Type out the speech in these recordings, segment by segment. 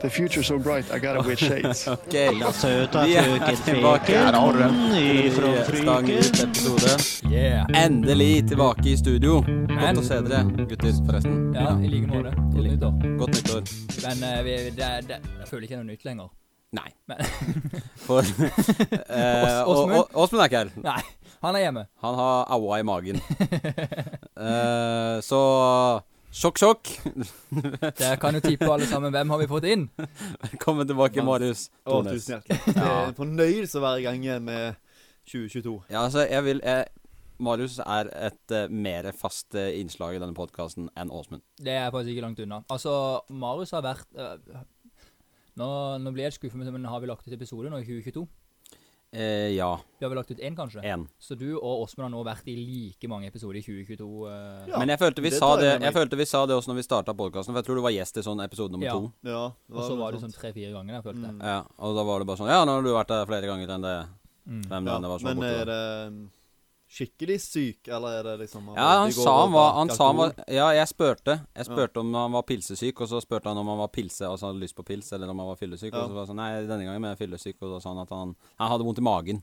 The future's so bright, I gotta wear shades. Ok, la oss Søta Vi er frøken tilbake. Her har du Feken ifra Stang ut Fryken. episode. Mm. Endelig tilbake i studio. Men- Godt å se dere, gutter, forresten. Ja, i Mm. like måte. Godt nyttår. Godt nyttår. Men eh, vi, det, det, jeg føler ikke det er noe nytt lenger. Nei. Men- For eh, og- Åsmund? og- Åsmund er ikke her. Nei, han er hjemme. Han har aua i magen. Eh, så sjokk, sjokk. Dere kan jo tippe alle sammen hvem har vi fått inn. Velkommen tilbake, Marius. Å, Tornes. tusen hjertelig. Det er en fornøyelse hver gang igjen med 2022. Ja, altså, jeg vil eh, Marius er et eh, mer fast eh, innslag i denne podkasten enn Åsmund. Det er faktisk ikke langt unna. Altså, Marius har vært eh, nå, nå blir jeg skuffet, men har vi lagt ut episode nå i 2022? Eh, ja. Vi har vel lagt ut én, kanskje? Én. Så du og Åsmund har nå vært i like mange episoder i 2022. eh. Ja. Men jeg følte vi, det sa tar jeg det, med jeg meg. følte vi sa det også når vi starta podkasten, for jeg tror du var gjest i sånn episode nummer Ja. to. Ja, det Og så noe var det sånt. sånn tre-fire ganger, jeg følte. Mm. Ja, og da var det bare sånn Ja, nå har du vært der flere ganger enn det Mm. Hvem Ja, det var som var men borte. er da. det um, skikkelig syk, eller er det liksom Ja, han sa han var, han sa han var Ja, jeg spurte. Jeg spurte om han var pilsesyk, og så spurte han om han var pilse, altså han hadde lyst på pils, eller om han var fyllesyk. Ja. Og så var det sånn Nei, denne gangen er jeg fyllesyk, og da sa han at han Han hadde vondt i magen.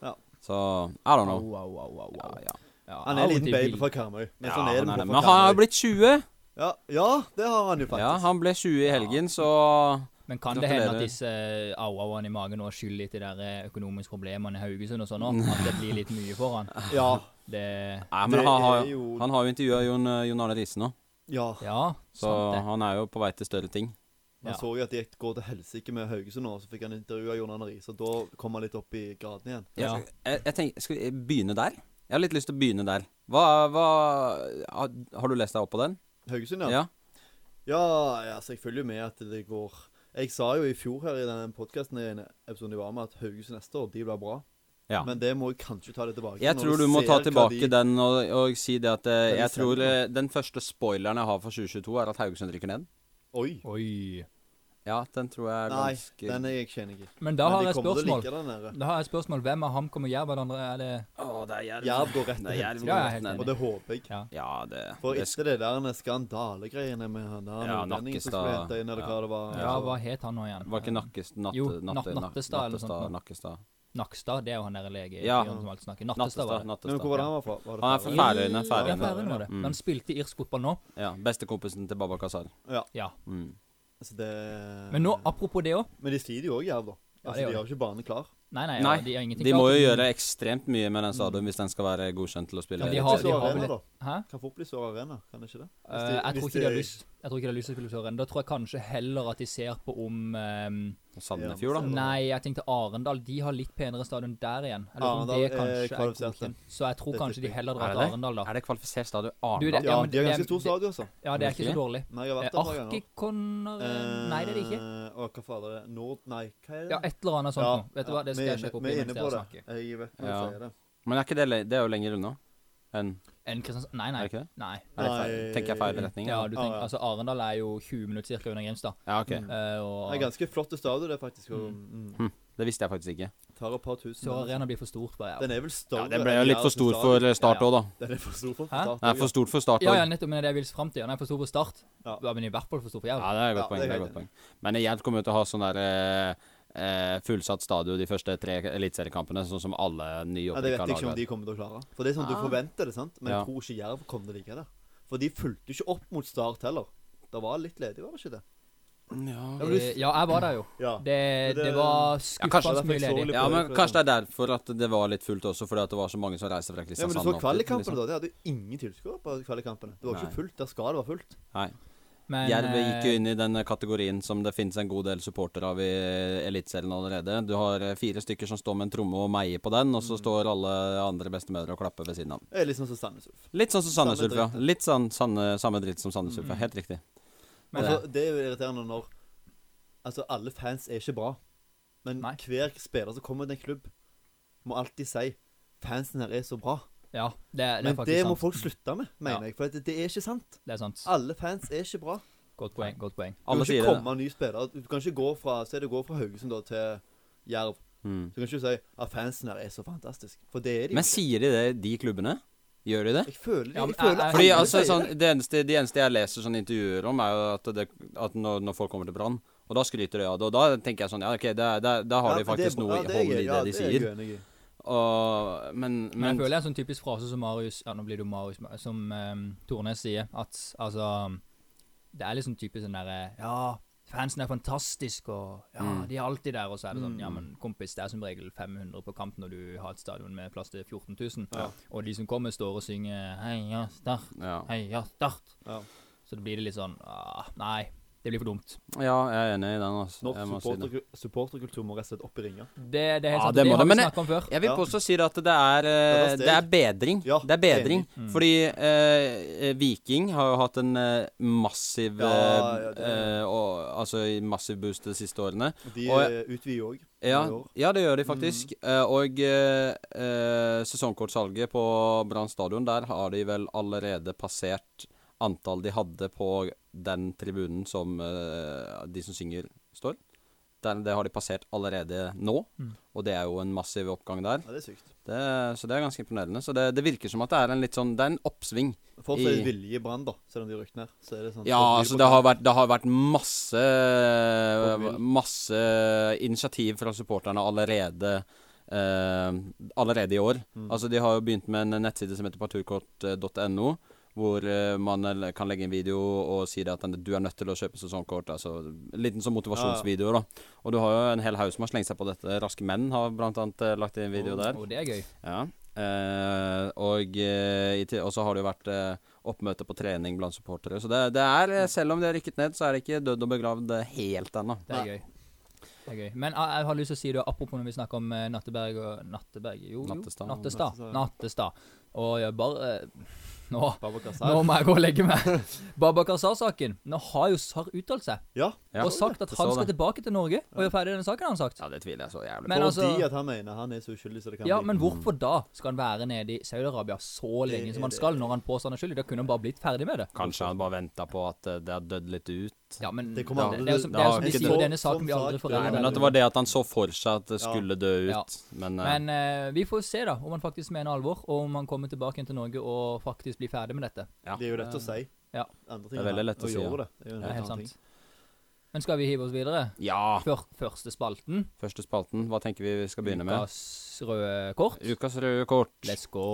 Ja. Så I don't Au, know. au, au, au, Ja, au. ja. Ja, Han er en liten alltid baby vill. fra Karmøy. Men Ja, sånn er han det er det. bare Men fra han har Karmøy. blitt 20. Ja, ja, det har han jo faktisk. Ja, han ble 20 i helgen, så Men kan det hende at Gratulerer. disse eh, au-auene i magen nå skylder litt de der eh, økonomiske problemene i Haugesund og sånn òg? At det blir litt mye for han? Ja, Det Nei, det men han har er jo jo- Han har jo intervjua Jon, eh, Jon Arne Riise nå, ja. Ja, så sant det. han er jo på vei til større ting. Man Ja. så jo at det gikk- går til helsike med Haugesund nå, så fikk han intervju av Jon Arne Riise, og da kom han litt opp i graden igjen. Ja. Jeg, jeg, jeg tenker, Skal vi begynne der? Jeg har litt lyst til å begynne der. Hva, hva har- Har du lest deg opp på den? Haugesund, ja. Ja, ja, så jeg følger jo med at det går Jeg sa jo i fjor her i den podkasten i en episode jeg var med, at Haugesund neste år, de blir bra. Ja. Men det må jeg kanskje ta litt tilbake. Jeg når tror du må ta ser hva tilbake den og, og si det at eh, de jeg tror sender. eh, den første spoileren jeg har for 2022, er at Haugesund rykker ned. Oi. Oi. Ja, den tror jeg er Nei, ganske den er jeg kjenner ikke. Men da Men har de jeg kommer til å spørsmål. like den der. eh, Da har jeg spørsmål. Hvem av HamKam og Jerv er det andre? Er det Å, det er jerv. Jerv går rett Det er til jerv. Ja, jeg er helt Nei, enig. Og det håper jeg. Ja. Ja, det, For det etter det der skandalegreiene med han der Ja, nordlendingen Nakkestad. som skulle hente inn, eller hva det var ja, så- hva het han nå igjen? var ikke Nakkestad natte, Jo, natte, Nat- Nattestad eller Nattestad, sånt noe. Nakkestad. Eh, Nakstad, det er jo han der lege Ja. fyren som alltid snakker. Nattestad. Nattestad, var det. Nei, men Nattestad. Hvor var det ja. han var fra? Var det Han er fra Færøyene? Færøyene. Ja, Færøyene. Færøyene var det. Mm. Men han spilte i irsk fotball nå. Ja, Bestekompisen til Baba Kazar. Ja. Ja. Mm. Så det Men nå, apropos det òg. Men de sliter jo òg, Jerv, da. Ja, Altså, det gjør de har jo ikke banen klar. Nei, nei, Nei, ja, de har ingenting De må klart. jo gjøre ekstremt mye med den stadion hvis den skal være godkjent til å spille. Ja, de i har- Eliteserien. de har arena, vel- da. Hæ? Kan fort bli Sør Arena, kan det ikke det? Eh, jeg, tror ikke de har lyst, jeg tror ikke de har lyst til å spille Søren. Da tror jeg kanskje heller at de ser på om ehm, Sandefjord, da. Ja. Nei, jeg tenkte Arendal. De har litt penere stadion der igjen. Jeg lurer på om Arendal det er kanskje er kvalifiserte. godkjent. Så jeg tror Det kanskje de tipper jeg. heller Er drar det til det? Arendal, da. Er det kvalifisert stadion? Du, Arendal? det- Ja, Ja, men de har det- ganske stor det- stadion, altså. Ja, det er ikke Virkelig? så dårlig. Nei, jeg har Eh, vært der mange ganger. Arkikonner eh, Nei, det er det ikke. Eh, Å, hva fader er det? Nord... Nei, hva er det? Ja, et eller annet sånt Ja, noe. Vet du ja, hva, det skal vi er jeg inne- sjekke opp Vi i er mens inne dere på det. snakker. Jeg vet hva Ja. jeg sier det. Men er ikke det, le- det er jo lenger unna enn En Kristiansand Nei, Er nei. det ikke det? nei. Er det feil? Nei. Tenker jeg feil retning? Ja, eller? du Ja, tenker, ja. altså Arendal er jo 20 minutter cirka under Grimstad. Ja, ok. Mm. Eh, Det er og ganske flott stadion, det, faktisk. Og, mm, Det visste jeg faktisk ikke. tar et par tusen. altså. Sør Arena blir for stort. Bare, ja. Den er vel Ja, større Den ble enn jo litt for Jerv sin stor stadion. for eh, start òg, Ja, da. Den er for stor for Hæ? Den er for stort for start ja, ja, òg. nettopp. Men det er det jeg vil fram til. Ja, nei, for stor på start. Ja. Ja, Men i hvert fall for stor for Ja, Jerv. det er et Ja, godt poeng. det det er er et godt poeng. Men Jerv kommer jo til å ha sånn der eh, eh, fullsatt stadion de første tre eliteseriekampene, sånn som alle Ja, det nyopprykka vet jeg ikke om lag. har. de kommer til å klare. For det er sånn Ah. du forventer det, sant? Men Ja. jeg tror ikke Jerv kommer til å ligge der. For de fulgte jo ikke opp mot Start heller. Det var litt ledig, var det ikke det? Ja. men du- Eh, Ja, jeg var der jo. Ja. Det, Men det- det var Ja, kanskje skuffende det er mye faktisk ledig. dårlig. ja, men kanskje det er derfor at det var litt fullt også, fordi at det var så mange som reiste fra Ja, men Kristiansand. du så opp dit, kvalikkampene, liksom. da. De hadde jo ingen tilskuere på kvalikkampene. Det var Nei. ikke fullt. Der skal det være fullt. Nei. Men, Jerv eh, gikk jo inn i den kategorien som det finnes en god del supportere av i Eliteserien allerede. Du har eh, fire stykker som står med en tromme og meier på den, og Mm. så står alle andre bestemødre og klapper ved siden av. den. Det er litt sånn som Sandnes Ulf. Litt sånn som Sandnes Samme Ulf, ja. dritt, ja. Litt sånn sanne, samme dritt som Sandnes Ulf, ja. Mm. Helt riktig. Men Altså, det er jo irriterende når Altså, alle fans er ikke bra. Men Nei. hver spiller som kommer til en klubb, må alltid si 'Fansen her er så bra'. Ja, det, er- det Ah. Men er faktisk det må sant. folk slutte med, mener Ja. jeg. For det, det er ikke sant. Det er sant. Alle fans er ikke bra. Godt poeng. godt poeng. Du kan Alle ikke sier det. komme nye spillere. Du kan ikke gå fra Se det går fra Haugesund da til Jerv. Mm. Du kan ikke si at fansen her er så fantastisk. For det er de. Men sier de det, de klubbene? Gjør de det? jeg føler det. Ja, men Jeg føler jeg- Fordi alle altså, sier sånn, det. det eneste, De eneste jeg leser sånne intervjuer om, er jo at, det, at når, når folk kommer til Brann, Og da skryter de av det. Og da tenker jeg sånn Ja, OK, der, der, der har Ja, de men det er faktisk bra. noe Ja, det er hold i jeg- det ja, de er jeg sier. uenig i. Og, men, Men jeg men føler det er en sånn typisk frase som Marius Ja, nå blir det jo Marius men Som ehm, Tornes sier, at altså Det er liksom typisk sånn derre Ja, fansen er fantastisk, og ja, Mm. de er alltid der, og så er det sånn Mm. Ja, men kompis, det er som regel 500 på kamp når du har et stadion med plass til 14 000. Ja. Og de som kommer, står og synger Heia Start, ja. heia Start. Ja. Så det blir det litt sånn ah, Nei, det blir for dumt. ja, jeg er enig i den. Altså. Jeg, må Norsk si det. supporter, supporterkultur må rett og slett opp i ringa. Det, det er helt Ja, sant. det Det, må har det, vi men jeg- snakket om før. Jeg vil Ja. påstå si det at det er, eh, Ja, det er steg. det er bedring. Ja, det er bedring. enig. Mm. Fordi eh, Viking har jo hatt en eh, massiv Ja, eh, ja, det- eh, og, Altså massiv boost de siste årene. De Og eh, utvider jo òg. Ja, i år. ja, det gjør de faktisk. Eh, og eh, eh, sesongkortsalget på Brann stadion, der har de vel allerede passert antall de hadde på den tribunen som eh, de som synger, står. Der, det har de passert allerede nå, Mm. og det er jo en massiv oppgang der. Ja, det er sykt. Det, så det er ganske imponerende. Så det, det virker som at det er en litt sånn Det er en oppsving. Fortsatt I- er det vilje i Brann, da, selv om de rykker ned. Så er det sånn Ja, så blir altså på det har kamp. vært, det har vært masse vil. Masse initiativ fra supporterne allerede. eh, allerede i år. Mm. Altså De har jo begynt med en nettside som heter parturkort.no, hvor eh, man l- kan legge en video og si det at den- du er nødt til å kjøpe sesongkort. Altså en Liten sånn motivasjonsvideo. da Og du har jo en hel haug som har slengt seg på dette. Raske menn har blant annet eh, lagt inn en video der. Og det er gøy. Ja. Eh, og eh, i til- og så har det jo vært eh, oppmøte på trening blant supportere. Så det, det er, eh, selv om de har rykket ned, så er det ikke dødd og begravd eh, helt ennå. Det er gøy. Det er gøy. Men jeg, jeg har lyst til å si det, apropos når vi snakker om eh, Natteberg og Natteberg Jo, jo. Nattestad. Nattestad. Nattestad. Nattestad, ja. Og jeg bare eh, Nå, Babacar nå Sarr. må jeg gå og legge meg. Babakar Sar-saken. Nå har jo Sar uttalt seg Ja, Ja, og sagt at jeg han så skal det. tilbake til Norge og gjøre ferdig denne saken, har han sagt. Ja, det tviler jeg så jævlig Men fordi altså- at han mener han er så uskyldig som det kan Ja, bli. men hvorfor da skal han være nede i Saudi-Arabia så lenge som han skal, når han påstår han er skyldig? Da kunne han bare blitt ferdig med det. på. Kanskje han bare venta på at eh, det har dødd litt ut. Ja, Det men det, kommer det, aldri- er jo som, det er jo som de det har sier, ikke- denne saken blir Som aldri sagt, Nei, men Ja, at det- foreldet. det var det at han så for seg at det Ja. skulle dø ut. Ja. Men, eh, Men eh, vi får se, da, om han faktisk mener alvor, og om han kommer tilbake igjen til Norge og faktisk blir ferdig med dette. ja. Det er jo lett å si. Ja. Andre ting Det er veldig her, lett å og si, ja. gjøre Det. Det er jo en Det er helt annen ting. sant. Men skal vi hive oss videre? Ja. Før første spalten. Første spalten. Hva tenker vi vi skal begynne med? Ukas røde kort. Ukas røde kort. Let's go.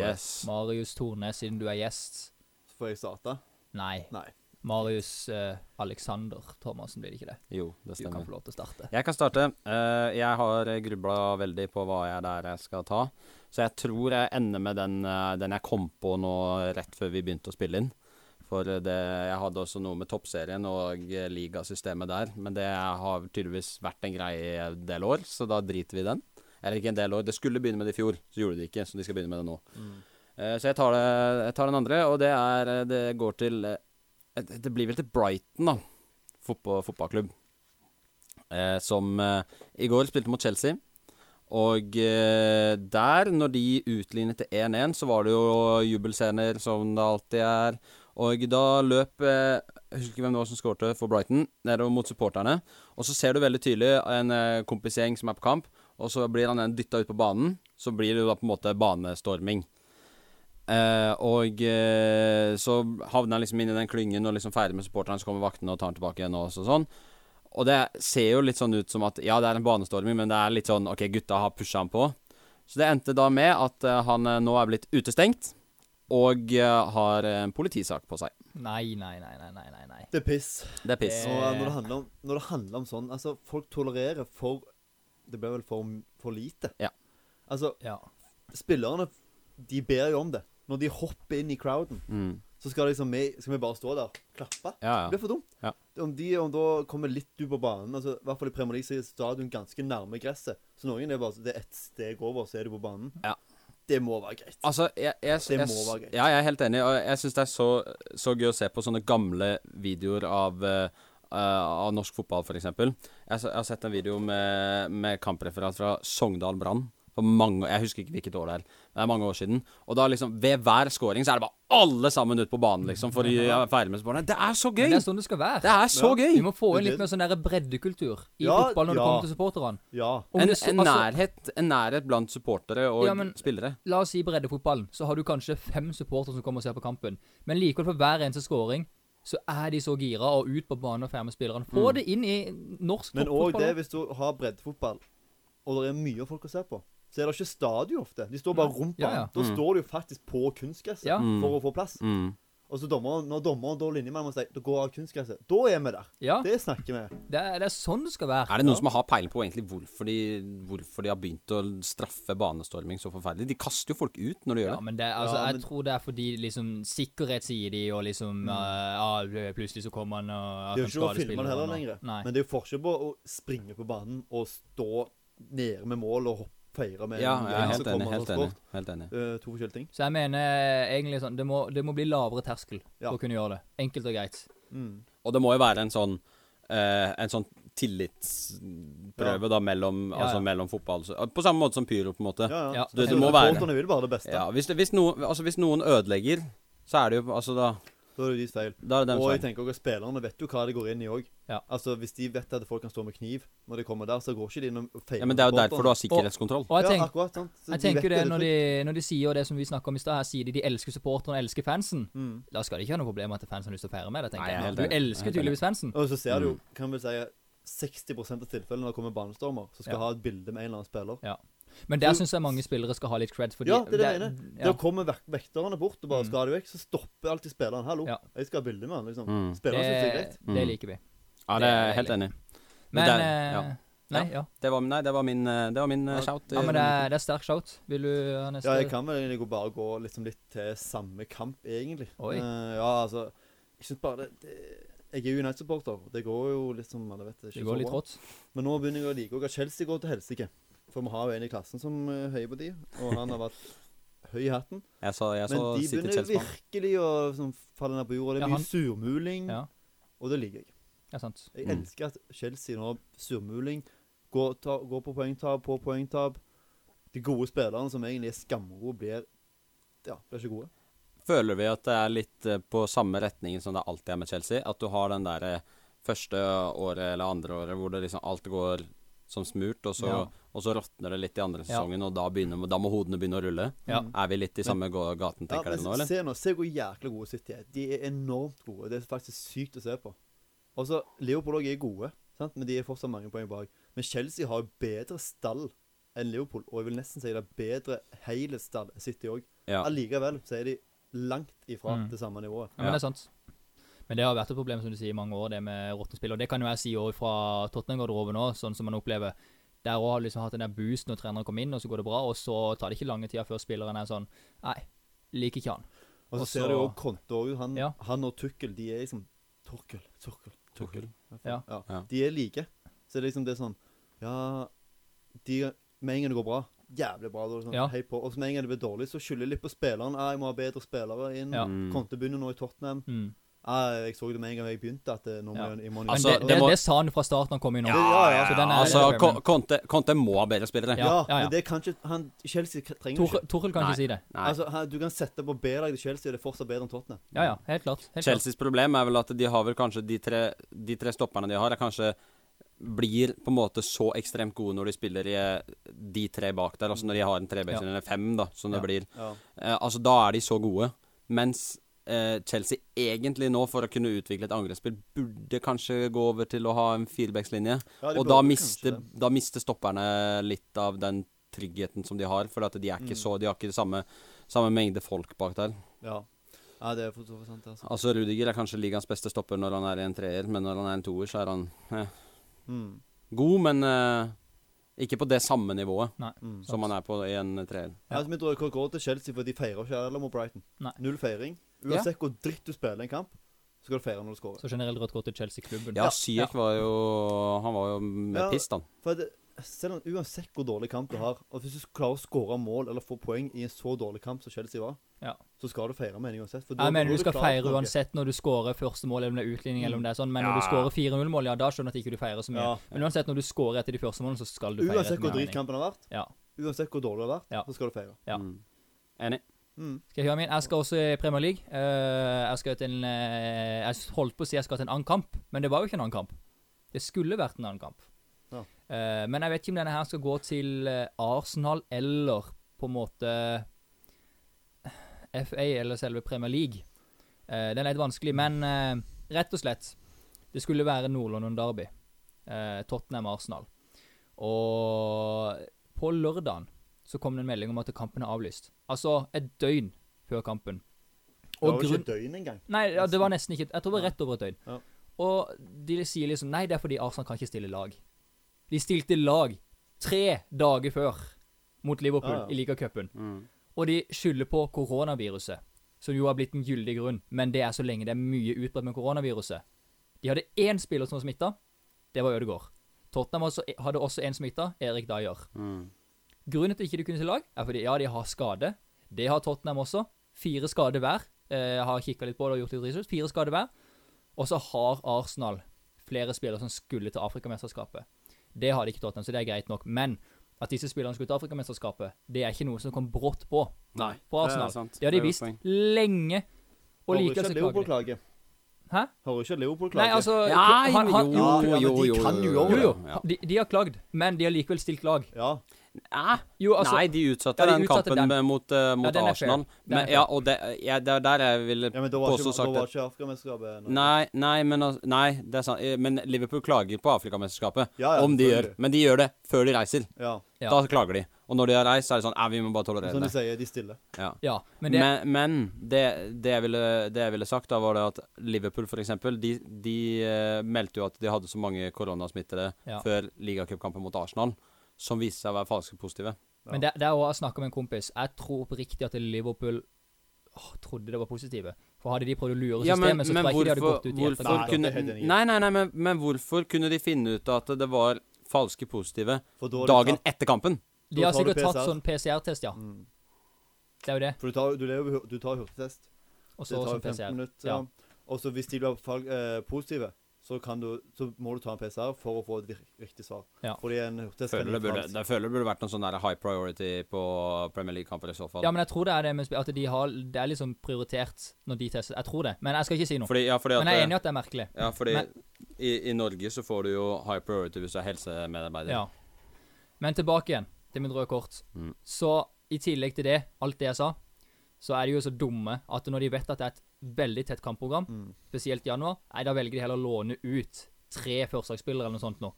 Yes. Marius Tornes, siden du er gjest. Får jeg starte? Nei. Nei. Marius eh, Alexander Thomassen, blir det ikke det? Jo, det Du kan stemmer. få lov til å starte. Jeg kan starte. Eh, jeg har grubla veldig på hva jeg der jeg skal ta. Så jeg tror jeg ender med den, eh, den jeg kom på nå rett før vi begynte å spille inn. For det, jeg hadde også noe med toppserien og eh, ligasystemet der. Men det har tydeligvis vært en greie i en del år, så da driter vi i den. Eller ikke en del år. Det skulle begynne med det i fjor, så gjorde de det ikke. Så de skal begynne med det nå. Mm. Eh, så jeg tar, det, jeg tar den andre, og det er eh, Det går til eh, Det det blir vel til Brighton, da. Fotball, fotballklubb. Eh, som eh, i går spilte mot Chelsea. Og eh, der, når de utlignet til 1-1, så var det jo jubelscener, som det alltid er. Og da løp eh, Jeg husker ikke hvem det var som skårte for Brighton, nedover mot supporterne. Og så ser du veldig tydelig en eh, kompisgjeng som er på kamp, og så blir han dytta ut på banen. Så blir det jo da på en måte banestorming. Eh, og eh, så havner han liksom inn i den klyngen og liksom ferdig med supporterne, så kommer vaktene og tar han tilbake igjen og så- sånn. Og det ser jo litt sånn ut som at ja, det er en banestorming, men det er litt sånn OK, gutta har pusha han på. Så det endte da med at eh, han eh, nå er blitt utestengt, og eh, har eh, en politisak på seg. Nei, nei, nei, nei, nei. nei, nei. Det er piss. Det er Eh. piss. Og eh, når det handler om, når det handler om sånn Altså, folk tolererer for Det blir vel for, for lite. Ja. Altså, Ja. spillerne De ber jo om det. Når de hopper inn i crowden, Mm. så skal, liksom vi, skal vi bare stå der klappe. Ja, ja. Det blir for dumt. Ja. Om de om da kommer litt ut på banen altså, I hvert fall i Premier League så er stadion ganske nærme gresset. Så noen er bare så- Det er ett steg over, så er du på banen. Ja. Det må være greit. Altså, jeg, jeg, Det jeg, må være greit. Ja, jeg er helt enig, og jeg syns det er så, så gøy å se på sånne gamle videoer av eh, eh, av norsk fotball, f.eks. Jeg, s- jeg har sett en video med, med kampreferat fra Sogndal Brann. For mange, jeg husker ikke hvilket år det er. Det er mange år siden. Og da liksom, ved hver scoring så er det bare alle sammen ut på banen, liksom. For å gjøre- feire med sporene. Det er så Men gøy! det er sånn det skal være. Det er så Ja. Vi gøy! må få inn Det- litt mer sånn der breddekultur i Ja, fotball når det ja. kommer til supporterne. Ja. Om En, det så- en, altså- nærhet, en nærhet blant supportere og Ja, men- spillere. La oss si breddefotballen, så har du kanskje fem supportere som kommer og ser på kampen. Men likevel for hver eneste scoring så er de så gira og ut på banen og ferme spillerne. Få Mm. det inn i norsk Men òg toppfotball. det, da. hvis du har breddefotball, og det er mye folk å se på, så er det ikke stadion ofte. De står bare rundt Ja, banen. ja. Da Mm. står de jo faktisk på kunstgresset Ja. Mm. for å få plass. Mm. Og så dommeren, når dommeren da linjemann må si Da går av kunstgresset. Da er vi der. Ja, Det snakker vi. det er, det er sånn det skal være. Er det noen som har peiling på egentlig hvorfor de, hvorfor de har begynt å straffe banestorming så forferdelig? De kaster jo folk ut når de gjør Ja, det. men det, altså, Ja, jeg men- Mm. tror det er fordi liksom sikkerhet sier de, og liksom eh, ja, Plutselig så kommer han og Det er jo ikke lov å skadespiller filme det heller han, og- lenger. Nei. Men det er jo forskjell på å springe på banen og stå nede med mål og hoppe, feire med Ja, en jeg er gang som helt enig. kommer Helt fra enig. sport. Helt enig. Eh, to forskjellige ting. Så jeg mener egentlig sånn Det må, det må bli lavere terskel Ja. for å kunne gjøre det. Enkelt og greit. Mm. Og det må jo være en sånn eh, En sånn tillitsprøve da mellom, Ja, Altså ja. mellom fotball og- På samme måte som pyro, på en måte. Ja, ja. Ja. Så Du- jeg det tror må være- Reporterne vil bare det beste. Ja, hvis, det, hvis, noen, altså, hvis noen ødelegger, så er det jo Altså, da, Da er det deres feil. da er det deres Og jeg feil. tenker også at Spillerne vet jo hva de går inn i òg. Ja. Altså, hvis de vet at folk kan stå med kniv når de kommer der, så går ikke de inn og feiler. Ja, men det er jo derfor du har sikkerhetskontroll. Og jeg, ja, tenk, akkurat, sant? Så jeg de vet tenker jo det er når de, trygt. når de sier det som vi snakka om i stad, her sier de de elsker supporterne og elsker fansen. mm. Da skal de ikke ha noe problem med at fansen har lyst til å feire med det, tenker Nei, jeg er jeg. helt Du enig. Jeg er elsker helt enig. tydeligvis fansen. Og så ser du jo, Mm. kan vi si, 60 av tilfellene når det kommer banestormer, så skal Ja. ha et bilde med en eller annen spiller. Men der syns jeg mange spillere skal ha litt cred. Fordi Ja, det er det jeg Da ja. kommer vek vekterne bort og bare Mm. 'Skal du vekk?' Så stopper alltid spilleren. 'Hallo, Ja. jeg skal ha bilde med han', liksom. Mm. Spilleren syns det er greit. det Mm. liker vi. Ja, det er jeg helt enig. Men Men det er- eh, ja. Nei, ja. Det var, nei, det var min, eh, det var min eh, Ja. shout. ja. Men det er, det er sterk shout. Vil du ha neste? Ja, jeg kan vel egentlig bare gå liksom litt til samme kamp, egentlig. Oi. Eh, ja, altså Jeg syns bare det, det Jeg er jo United-supporter. Det går jo liksom alle vet, ikke Det så går litt bra. rått. Men nå begynner jeg å like også at Chelsea går til helsike. For vi har jo en i klassen som eh, heier på de, og han har vært høy i hatten. Jeg så, jeg Men så de City begynner Chelsea. virkelig å sånn, falle ned på jorda. Det Ja, er mye han- surmuling, Ja, og det liker jeg. ja sant. Jeg Mm. elsker at Chelsea nå surmuling, går, ta, går på poengtap, på poengtap. De gode spillerne som egentlig er skamgode, blir ja, blir ikke gode. Føler vi at det er litt eh, på samme retningen som det alltid er med Chelsea? At du har den der eh, første året eller andre året hvor det liksom alt går som smurt, og så, Ja. og så råtner det litt i andre Ja. sesongen, og da, begynner, da må hodene begynne å rulle? Ja. Er vi litt i samme gå- gaten, Ja, tenker men dere nå, eller? Se nå, se hvor jækla gode City er. De er enormt gode. Det er faktisk sykt å se på. Altså, Leopold også er gode, sant? men de er fortsatt mange poeng bak. Men Chelsea har jo bedre stall enn Leopold, og jeg vil nesten si det er bedre hele stall enn City òg. Ja. Allikevel så er de langt ifra Mm. det samme nivået. Ja, men det er sant. Men det har vært et problem som du sier, i mange år, det med råtne spill. Og det kan jo jeg si også fra Tottenham-garderoben òg, sånn som man opplever. Der òg har du liksom hatt den der boosten når treneren kommer inn, og så går det bra, og så tar det ikke lange tida før spilleren er sånn Nei, liker ikke han. Og Og så ser så- du jo Conte òg. Han, Ja. han og Tukkel, de er liksom Torkel, Torkel, Torkel. Ja. Ja. De er like. Så det er liksom det er sånn Ja, de Med en gang det går bra, jævlig bra. Da, er det sånn, Ja. hei på. Og så med en gang det blir dårlig, så skylder jeg litt på spilleren. Ah, 'Jeg må ha bedre spillere inn.' Ja. Mm. Conte begynner nå i Tottenham. Mm. Ah, jeg så det med en gang jeg begynte, at eh, nå må Ja. jeg- jeg må Men Altså, det, det det, må- det sa han fra starten han kom inn nå. Ja, ja, Så den er Altså, litt Kon- premium. Conte, Conte må ha bedre spillere. ja, ja, ja. men det kan ikke han, Chelsea trenger Tor- ikke Torhild kan Nei. ikke si det. Nei. Altså, han, Du kan sette på B-lag til Chelsea, og det er fortsatt bedre enn Tottenham. Ja, ja, helt klart. Helt klart. Chelseas problem er vel at de har vel kanskje de tre, de tre stopperne de har, er kanskje blir på en måte så ekstremt gode når de spiller i eh, de tre bak der, altså når de har en Ja. trebekslinje eller fem, da, som det Ja. blir. Ja. Eh, altså, da er de så gode. Mens eh, Chelsea egentlig nå, for å kunne utvikle et angrepsspill, burde kanskje gå over til å ha en firebackslinje. Ja, de Og burde da kanskje mister, det. da mister stopperne litt av den tryggheten som de har, for at de er ikke Mm. så De har ikke samme, samme mengde folk bak der. Ja. ja, det er for så vidt sant, altså. Altså Rudiger er kanskje ligaens beste stopper når han er i en treer, men når han er en toer, så er han eh, Mm. god, men eh, ikke på det samme nivået Mm. som han er på i en treer. Ja. Altså, vi drar rekord til Chelsea, for de feirer ikke heller mot Brighton. Nei. Null feiring. Uansett hvor dritt du spiller en kamp, så skal du feire når du scorer. Så generelt rødt kort til Chelsea-klubben. Ja, Syek var jo Han var jo med Ja. piss, han. For det, selv om Uansett hvor dårlig kamp du har, og hvis du klarer å skåre mål eller få poeng i en så dårlig kamp som Chelsea var, Ja. så skal du feire med en uansett. For da- Jeg mener da du har skal klart feire noe. uansett når du scorer første mål, eller om det er utligning, eller om det er sånn, men når du scorer 4-0-mål, ja, da skjønner jeg at ikke du feirer så mye. Ja. Men uansett når du scorer etter de første målene, så skal du feire. Uansett etter hvor min drit mening. kampen har vært, Ja. uansett hvor dårlig det har vært, Ja. så skal du feire. Ja. Mm. Enig. Mm. Skal jeg høre min? Jeg skal også i Premier League. Eh, jeg skal til en eh, Jeg holdt på å si jeg skal til en annen kamp, men det var jo ikke en annen kamp. Det skulle vært en annen kamp. Ja. Eh, men jeg vet ikke om denne her skal gå til eh, Arsenal eller på en måte FA eller selve Premier League. Eh, den er litt vanskelig, men eh, Rett og slett. Det skulle være Nord-London-derby. Eh, Tottenham-Arsenal. Og på lørdagen så kom det en melding om at kampen er avlyst. Altså et døgn før kampen. Det var jo grunn- ikke døgn engang. Nei, ja, det var nesten ikke Jeg tror det var Ja. rett over et døgn. Ja. Og de sier liksom Nei, det er fordi Arsenal kan ikke stille lag. De stilte lag tre dager før mot Liverpool Ja, Mm. ja. i ligacupen. Og de skylder på koronaviruset, som jo har blitt en gyldig grunn. Men det er så lenge det er mye utbredt med koronaviruset. De hadde én spiller som var smitta. Det var Ødegaard. Tottenham også, hadde også én smitta, Erik Dyer. Grunnen til at de ikke kunne til lag, er fordi ja, de har skade. Det har Tottenham også. Fire skader hver. Eh, Jeg har kikka litt på det og gjort litt research. Fire skader hver. Og så har Arsenal flere spillere som skulle til Afrikamesterskapet. Det har de ikke Tottenham, så det er greit nok. Men at disse spillerne skulle til Afrikamesterskapet, det er ikke noe som kom brått på Nei. på Arsenal. sant. Det har de er et visst poeng. lenge. Og Hører likevel ikke så at klager Liverpool de. klage. Hæ? Hører ikke at Liverpool klage. Nei, altså Ja, han- han- jo, jo, jo, men de jo, kan jo jo, jo. Ja. De, de har klagd, men de har likevel stilt lag. Ja. Nei, Jo, altså Nei, de utsatte ja, de den utsatte kampen den. med- mot, eh, mot den er fair. Arsenal. Den er Men, fair. ja, og det, ja, det er der jeg ville ja, men da var Påstå ikke, da sagt var at- ikke Afrikamesterskapet eh, nå. Nei, nei, men, altså- nei, det er sant. Eh, Men Liverpool klager på Afrikamesterskapet. Ja, ja, om de gjør. selvfølgelig. Men de gjør det før de reiser. Ja. Ja. Da klager de. Og når de har reist, så er det sånn Nei, vi må bare tolerere Som du det. sier, de stiller. Ja. Ja, men Men, det men, det, det, jeg ville, det jeg ville sagt, da var det at Liverpool, for eksempel, de, de eh, meldte jo at de hadde så mange koronasmittede Ja. før ligacupkampen mot Arsenal, som viste seg å være falske positive. Ja. Men der, der også har jeg snakket med en kompis. Jeg tror oppriktig at Liverpool åh, trodde det var positive. For hadde de prøvd å lure Ja, systemet, men, så men tror jeg ikke de hadde hvorfor, gått ut i hvorfor Nei, etterkant. det kunne er helt enig. Nei, nei, nei, men, men hvorfor kunne de finne ut at det var falske positive For da har de dagen tatt- etter kampen? De har Da tar du sikkert tatt PCR. sånn PCR-test, ja. Mm. Det er jo det. For du tar, du, lever, du tar hurtigtest. Og Det tar så sånn jo 15 PCR. minutter. Ja. Ja. Og så hvis de blir fal- eh, positive, så, kan du, så må du ta en PCR for å få et vir- riktig svar. Ja. Fordi en hurtigtest kan Føler det, gi burde, falsk. jeg føler det burde vært noen sånn der high priority på Premier League-kamper i så fall. ja, men jeg tror det er det med sp- At de har Det er liksom prioritert når de tester. Jeg tror det. Men jeg skal ikke si noe. fordi, ja, fordi at, Men jeg er enig i at det er merkelig. ja, fordi Men- i, i Norge så får du jo high priority hvis du er helsemedarbeider. Ja. Men tilbake igjen til mitt røde kort. Mm. Så i tillegg til det, alt det jeg sa, så er de jo så dumme at når de vet at det er et veldig tett kampprogram, Mm. spesielt i januar, nei, da velger de heller å låne ut tre førsteslagsspillere eller noe sånt nå.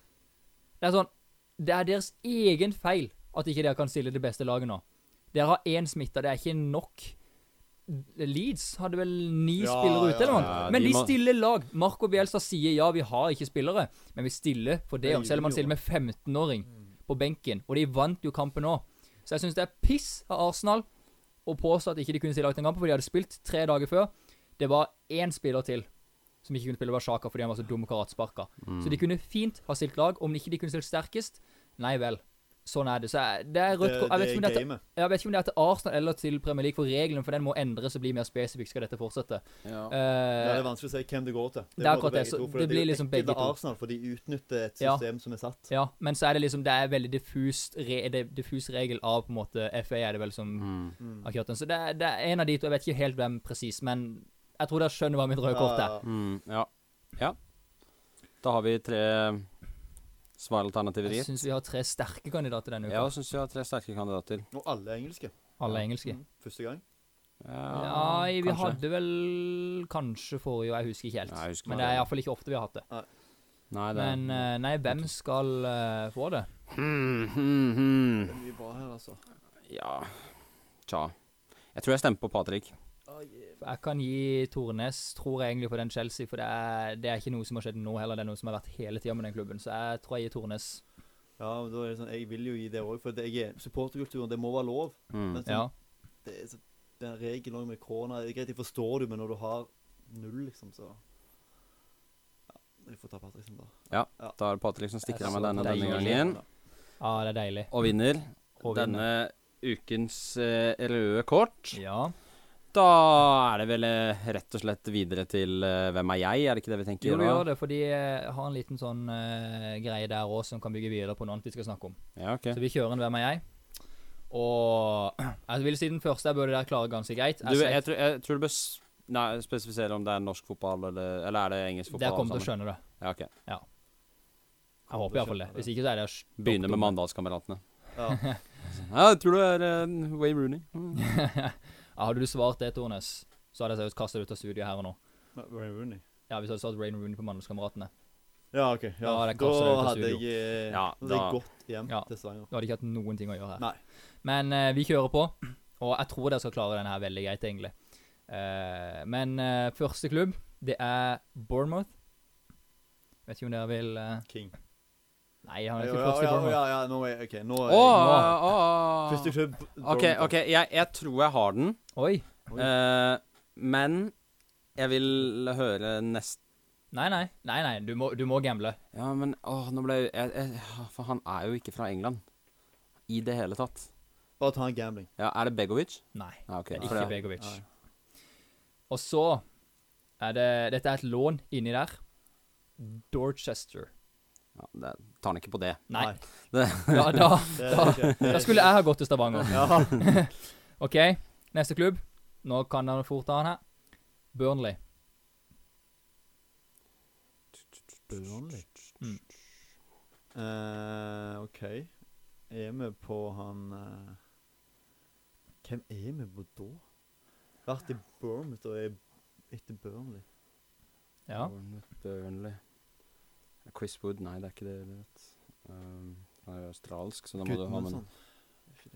Det er sånn Det er deres egen feil at ikke dere kan stille det beste laget nå. Dere har én smitta, det er ikke nok. Leeds hadde vel ni Ja, spillere ute, ja, eller noe? ja, Men de de, må- stiller lag. Marco Bielsa sier ja, vi har ikke spillere, men vi stiller for det. Det om- Selv om han gjorde de stiller med 15-åring Mm. på benken, og de vant jo kampen nå. Så jeg syns det er piss av Arsenal å påstå at ikke de kunne stille lag til den kampen, for de hadde spilt tre dager før. Det var én spiller til som ikke kunne spille, det var Sjaka fordi han var så dum og karatsparka. Så Mm. de kunne fint ha stilt lag, om ikke de kunne stilt sterkest. Nei vel. Sånn er det. Så jeg, det er Det, rødt kort. Jeg, det vet ikke er om det er til- eh, gamet. jeg vet ikke om det er til Arsenal eller til Premier League, for reglene for den må endres og bli mer spesifikk skal dette fortsette. Ja. Ja, det Eh, er vanskelig å si hvem det går til. Det er bare akkurat det, begge så for det blir er jo liksom ekkelt begge av to. Arsenal, for de utnytter et Ja. system som er satt. ja, men så er det liksom Det er veldig diffust re, det er diffus regel av på en måte FA er det vel som Mm. Mm. har kjørt den. Så det er, det er en av de to. Jeg vet ikke helt hvem presis, men jeg tror dere skjønner hva mitt røde kort er. Ja, ja, ja. Mm, ja. ja. Da har vi tre svaralternativer i. Jeg syns vi har tre sterke kandidater denne uka. Jeg syns vi har tre sterke kandidater. Og alle er engelske. Alle engelske. Mm. Første gang. Ja, vi kanskje. hadde vel kanskje forrige, og jeg husker ikke helt. Nei, jeg husker men ikke. det er iallfall ikke ofte vi har hatt det. Nei, det Men eh, nei, hvem skal eh, få det? hmm, hmm, hmm. Det er mye bra her, altså. Ja Tja. Jeg tror jeg stemmer på Patrick. Jeg kan gi Tornes, tror jeg egentlig, for den Chelsea. For det er, det er ikke noe som har skjedd nå heller, det er noe som har vært hele tida med den klubben. Så jeg tror jeg gir Tornes. Ja, men da er det sånn, Jeg vil jo gi det òg, for det jeg er supporterkulturen. Det må være lov. Mm. Men sånn, Ja. det er så, den regelen også med korona det er Greit, jeg forstår det, men når du har null, liksom, så Ja, vi får ta Patriksen, da. Da er det Patrick som stikker av med Jeg så denne på deg, denne Jørgen. gangen, ja, det er deilig. og vinner Og denne ukens eh, røde kort. Ja. Da er det vel eh, rett og slett videre til eh, Hvem er jeg? Er det ikke det vi tenker? Jo, du da? gjør det, for de har en liten sånn eh, greie der òg som kan bygge videre på noe annet vi skal snakke om. Ja, ok. Så vi kjører en Hvem er jeg? Og jeg vil si den første jeg burde der klare ganske greit. Du, sier- jeg, tror, jeg tror du bør s- nei, spesifisere om det er norsk fotball, eller, eller er det engelsk fotball? Dere kommer til alle å sammen? skjønne det. Ja, ok. Jeg håper iallfall det. Hvis ikke så er det Begynne med Mandalskameratene. Ja. Ja, jeg tror du er eh, Wayne Rooney. Mm. ja, Hadde du svart det, Tornes, så hadde jeg seriøst kastet deg ut av studiet her og nå. Wayne Rooney. Ja, Hvis det hadde stått Rain Rooney på Mandalskameratene. Ja, OK. Ja. Da er Da det kanskje det ute av hadde studio. jeg, Ja, eh, da hadde da- jeg gått hjem Ja. til Stavanger. Du hadde ikke hatt noen ting å gjøre her. Nei. Men eh, vi kjører på, og jeg tror dere skal klare denne her veldig greit, egentlig. Eh, men eh, første klubb, det er Bournemouth. Vet ikke om dere vil eh, King. Nei, Ja, han er ja, ikke først i ja, Bournemouth. ja, ja, nå er jeg OK. Nå Å, er jeg å, å. Første klubb. OK, Bournemouth. ok, jeg, jeg tror jeg har den. Oi. Oi. Eh, men jeg vil høre nest... Nei, nei, nei, nei du, må, du må gamble. Ja, men åh, nå ble jeg, jeg, jeg For han er jo ikke fra England. I det hele tatt. Bare ta en gambling. Ja, Er det Begovic? Nei, Ja, ok. det er for ikke det- Begovic. Nei. Og så er det Dette er et lån inni der. Dorchester. Ja, det, tar han ikke på det. Nei. Det- Da, da, Det da, er ikke- det da er skulle jeg ha gått til Stavanger. Ja. OK, neste klubb. Nå kan han fort ta han her. Burnley. Burnley. Mm. Eh, OK. Er vi på han eh, Hvem er vi på da? Vært i Bournemouth og er etter Burnley. Ja. Bournemouth, Burnley eh, Chris Wood, nei, det er ikke det. det vet. Um, han er jo australsk, så da må du ha med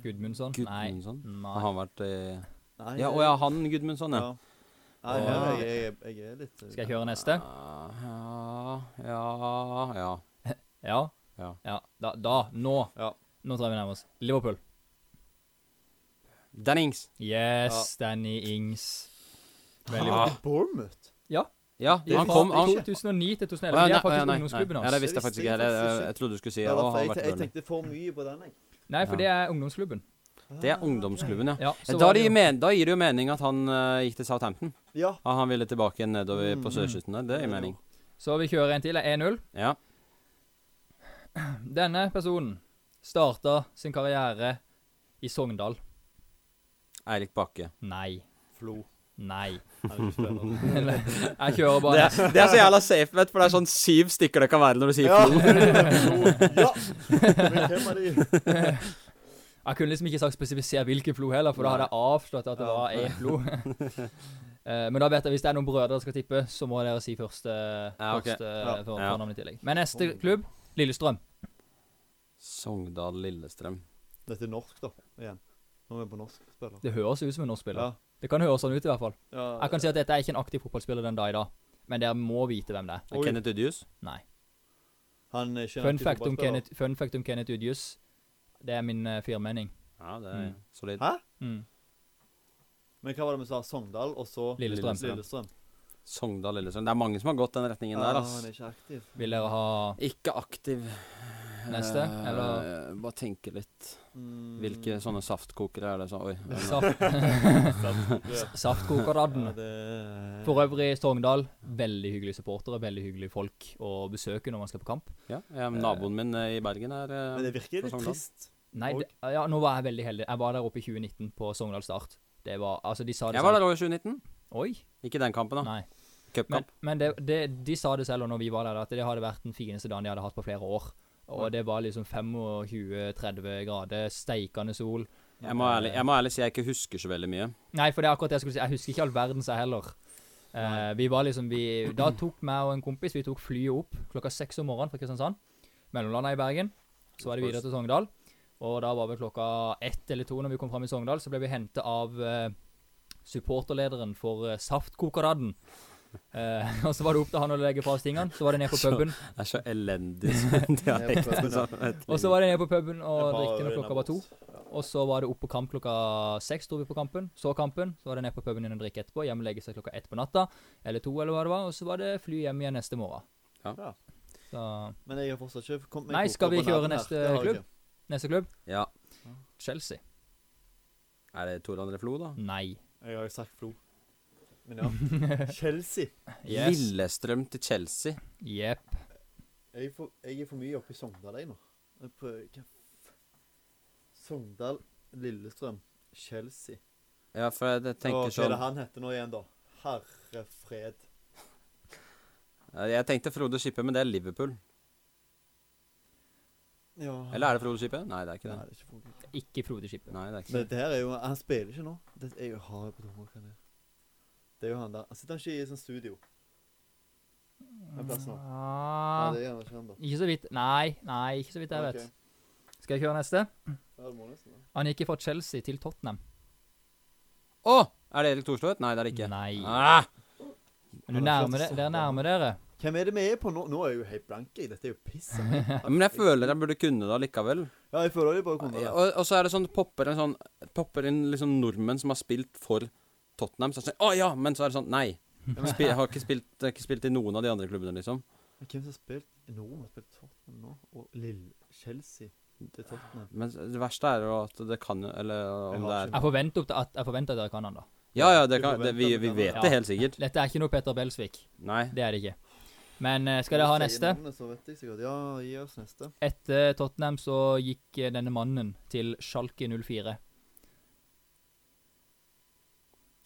Gudmundsson. Gudmundsson. Nei. Gudmundsson. Nei. Har han vært i Nei, Ja, jeg- å ja, han Gudmundsson, ja. Ja. Nei, Ja. her er jeg, jeg, jeg er litt Skal jeg kjøre neste? Ah, Ja, ja, ja. Ja. ja. ja. Da, da. Nå. Ja. Nå tror jeg vi nærmer oss. Liverpool. Dennings. Yes, Danny Ings. Veldig bra. Ah. eh, Bournemouth? Ja, Det han er kom fra- han, det er 2009 til 2011. Å, de nei, er faktisk å, nei, ungdomsklubben nei. altså. hans. Ja, det Det visste jeg faktisk visste ikke. jeg Jeg, jeg, faktisk ikke. jeg trodde du skulle si Ja, ja. da, for han jeg, har te- vært jeg Burnley. tenkte for mye på den, jeg. Ah, Nei, for Ja. det er ungdomsklubben. Det er ungdomsklubben, ja. Ja, så Da, var det det gir jo- men, da gir det jo mening at han eh, gikk til Southampton. Ja. Ja, han ville tilbake igjen nedover på Mm. sørkysten der. Det gir mening. Så vi kjører en til. det er 1-0. Ja. Denne personen starta sin karriere i Sogndal. Eirik Bakke. Nei. Flo. Nei. Herregud, spennende. Jeg kjører Det bare er, det er så jævla safe, vet du, for det er sånn syv stykker det kan være når du sier Ja. Flo. ja. Men hvem er de? Jeg kunne liksom ikke sagt spesifisere hvilken flo heller, for da hadde jeg avslørt at det Ja. var én flo. Eh, Men da vet jeg, hvis det er noen brødre dere skal tippe, så må dere si første, Ja, ok. første Ja. for, Ja. fornavn i tillegg. Men neste klubb Lillestrøm. Sogndal Lillestrøm. Dette er norsk, da. Igjen. Nå er vi på norsk spiller. Det høres jo ut som en norsk spiller. Ja. Det kan høres sånn ut i hvert fall. ja. Jeg kan si at dette er ikke en aktiv fotballspiller den dag i dag, men dere må vite hvem det er. Er Oi. Kenneth Udjus. Nei. Han er ikke en Fun aktiv fact om fotballspiller. Kenneth, fun fact om Kenneth Udius. Det er min uh, firmening. Ja, det er Mm. solid. Hæ? Mm. Men hva var det vi sa? Sogndal, og så Lillestrøm. Lillestrøm. Sogndal Lillestrøm. Det er mange som har gått den retningen Ah, der, han ass. er ikke aktiv. Vil dere ha Ikke aktiv. Neste, Eh, eller? Bare tenke litt. Mm. Hvilke sånne saftkokere er det som Oi. saft, Saft- saftkokeradden? Ja, det- For øvrig, Sogndal. Veldig hyggelige supportere, veldig hyggelige folk å besøke når man skal på kamp. Ja, ja, naboen min eh, i Bergen er eh, Men det virker fra litt Sogndal. trist. Nei, Og- det, ja, nå var jeg veldig heldig. Jeg var der oppe i 2019 på Sogndal Start. Det var Altså, de sa det Jeg var der òg i 2019. Oi. Ikke den kampen, da. Nei. Men, Cupkamp. men det, det, de sa det selv og når vi var der, at det hadde vært den fineste dagen de hadde hatt på flere år. Og det var liksom 25-30 grader, steikende sol. Jeg, må ærlig- jeg må ærlig si jeg ikke husker så veldig mye. Nei, for det er akkurat det jeg skulle si. Jeg husker ikke all verden seg heller. Eh, vi var liksom, vi, da tok meg og en kompis vi tok flyet opp klokka seks om morgenen fra Kristiansand. Mellomlanda i Bergen. Så var det videre til Sogndal. Og da var vel klokka ett eller to når vi kom fram i Sogndal, så ble vi henta av eh, supporterlederen for eh, Saftkokeradden. Eh, og så var det opp til han å legge fra oss tingene. Så var det ned på Så- puben. Det er så elendig sånn dialekt. Jeg prøver sånn, vet du. Og så var det ned på puben og Jeg bare drikke når øyner klokka var to. bort. Og så var det opp på kamp klokka seks, dro vi på kampen. Så kampen, så var det ned på puben igjen og drikke etterpå. Hjem og legge seg klokka ett på natta, eller to, eller hva det var. Og så var det fly hjem igjen neste morgen. Ja. Ja. Så Men jeg har fortsatt ikke kommet meg Nei, koker skal vi på kjøre navnet her. neste Det har jeg klubb? ikke. neste klubb Ja. Chelsea. Er det Tor André Flo, da? Nei. Jeg har jo sagt Flo. Men ja. Chelsea. Yes. Lillestrøm til Chelsea. Jepp. Jeg er for, jeg er for mye oppe i Sogndal, jeg nå. Jeg prøver ikke Sogndal, Lillestrøm, Chelsea. Ja, for jeg jeg Å, tenker Hva er sånn det han heter nå igjen, da? Herre fred. Jeg tenkte Frode Skippe, men det er Liverpool. Ja. Eller er det Frode Skippe? Nei, det er ikke Nei, det. det er ikke Frode. Ikke Frode Skippe. Nei, det er ikke Men det. det her er jo Han spiller ikke nå. Det er jo hard på tunga, hva det er. Det er jo han der. Han sitter han ikke i sånn studio? Den plassen nå. Nei, Ja det gjør han ikke ennå. Ah, Ikke så vidt. Nei, nei, ikke så vidt jeg vet. Ok. Skal jeg kjøre neste? Ja, det må nesten det. Han gikk fra Chelsea til Tottenham. Å! er det Erik Thorstvedt? Nei, det er det ikke. Nei. Ah, Han Men du har nærmer slått dere, dere nærmer dere. Hvem er det vi er på nå? Nå er jeg jo helt blank. jeg. Dette er jo piss. jeg. men jeg føler jeg burde kunne det allikevel. Ja, jeg føler de bare kunne det. Og, og så er det sånn popper en sånn Popper inn liksom nordmenn som har spilt for Tottenham. Så er det sånn, Å ja! Men så er det sånn Nei. Spil, jeg har ikke spilt, jeg har ikke spilt i noen av de andre klubbene, liksom. Men hvem som har spilt Norden har spilt Tottenham nå? Og Lille Chelsea til Tottenham. Men det verste er jo at det kan jo Eller Jeg om har det ikke er Jeg forventer, opp til at, jeg forventer at dere kan han, da. Ja ja, det Du kan, det, vi, forventer vi det, vet ja. det helt sikkert. Dette er ikke noe Peter Belsvik. Nei. Det er det ikke. Men eh, skal dere ha Når du sier neste? navnet, Så vet jeg sikkert. Ja, gi oss neste. Etter Tottenham så gikk eh, denne mannen til Schalke 04.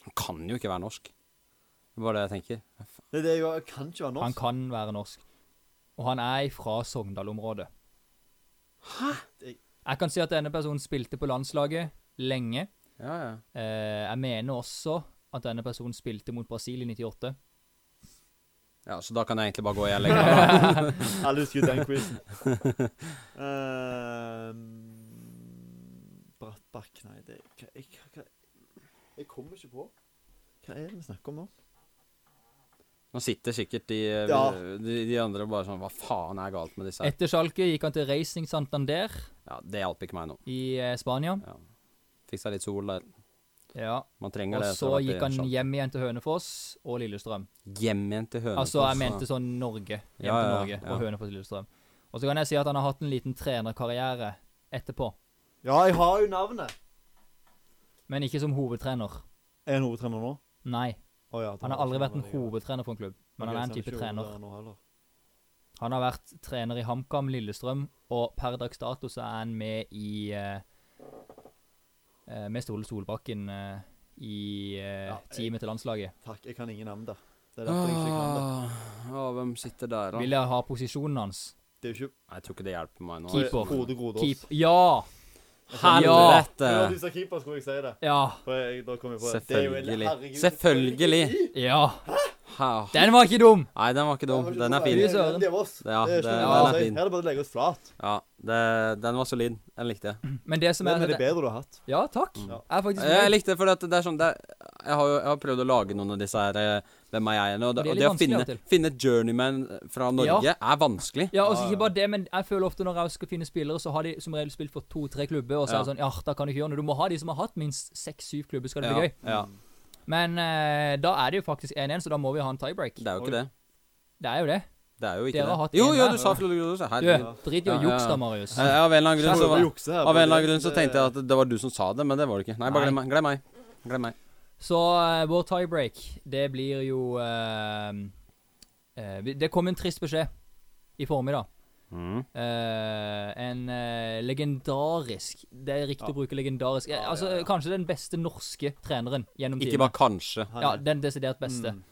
Han kan jo ikke være norsk. Det er bare det jeg tenker. Nei, det er jo, kan ikke være Han norsk. kan være norsk. Og han er fra Sogndal-området. Hæ? Jeg- Jeg kan si at denne personen spilte på landslaget lenge. Ja, ja. Eh, jeg mener også at denne personen spilte mot Brasil i 98. ja, Så da kan jeg egentlig bare gå i jeg legger meg. Alle husker den quizen. Ehm, Brattbakk, Um, nei det hva, jeg, hva- hva, jeg kommer ikke på. Hva er det vi snakker om nå? Nå sitter sikkert de, eh, Ja. de, de andre bare sånn Hva faen er galt med disse her? Etter Schalke gikk han til Racing Santander Ja, Det hjalp ikke meg nå. i eh, Spania. Ja. Fikk seg litt sol der. Ja. Man trenger Og det. etter å så ha vært i gikk han Sjalk. hjem igjen til Hønefoss og Lillestrøm. hjem igjen til Hønefoss. Altså, jeg mente ja. sånn Norge. Hjem Ja, til ja, Norge ja. og Hønefoss Lillestrøm. Og så kan jeg si at han har hatt en liten trenerkarriere etterpå. Ja, jeg har jo navnet. Men ikke som hovedtrener. Er han hovedtrener nå? Nei. Å ja, da Han har var aldri det vært en ikke noe hovedtrener for en klubb, Ok, men han så er en type ikke trener. hovedtrener nå heller. Han har vært trener i HamKam, Lillestrøm, og per dags dato så er han med i eh, eh, Med Ståle Solbakken eh, i eh, Ja, teamet til landslaget. Takk, jeg kan ingen navn der. Det er derfor jeg ikke kan det. Åh, åh, hvem sitter der, da? Vil jeg ha posisjonen hans? Det er jo ikke Nei, Jeg tror ikke det hjelper meg nå. Keeper. Frode Grodås. Keep. Ja! Helvete! Ja, du sa keeper, skulle jeg si det. Ja! For jeg, da kom jeg på det. Det er jo en- Selvfølgelig. herregud, Selvfølgelig! Ja! Ha. Den var ikke dum! Nei, den var ikke dum. Det var ikke Den noe er fin. feil. Du søren. Det er oss. Ja, Det er det- ikke noe den å er si. fin. Her er det bare å legge oss flat. Ja, det, den var solid. Den likte jeg. Men det som Men er er det bedre du har hatt? Ja, takk. Mm. Jeg er faktisk Jeg fornøyd. likte det, for det er sånn det er, jeg, har jo, jeg har prøvd å lage noen av disse her eh, Hvem er jeg? nå, Og det, Og de er og litt det å vanskelige finne, av og til. finne journeyman fra Norge er vanskelig. Ja, og så ikke bare det, men jeg føler ofte når jeg skal finne spillere, så har de som regel spilt for to-tre klubber, og så er Ja. det sånn Ja, da kan du ikke gjøre noe. Du må ha de som har hatt minst seks-syv klubber, skal det Ja, bli gøy. ja. Mm. Men eh, da er det jo faktisk 1-1, så da må vi ha en tiebreak. Det er jo ikke det. Det er jo det. Det er jo ikke Dere har det. hatt Jo, en jo, der. du sa Frode Grodås. Du, Herregud. drit i Ja, å ja, jukse ja. da, Marius. Eh, Av en eller annen grunn så, Prøver å var, jukse her, av en eller det- annen grunn så det- tenkte jeg at det var du som sa det, men det var det ikke. Nei, bare glem meg. Glem meg. Glem meg. Så eh, vår tiebreak, det blir jo eh, eh, vi- Det kom en trist beskjed i formiddag. Mm. Eh, en eh, legendarisk Det er riktig å bruke legendarisk eh, Altså, Kanskje den beste norske treneren gjennom Ikke bare kanskje. Han- Ja, den desidert beste. Mm.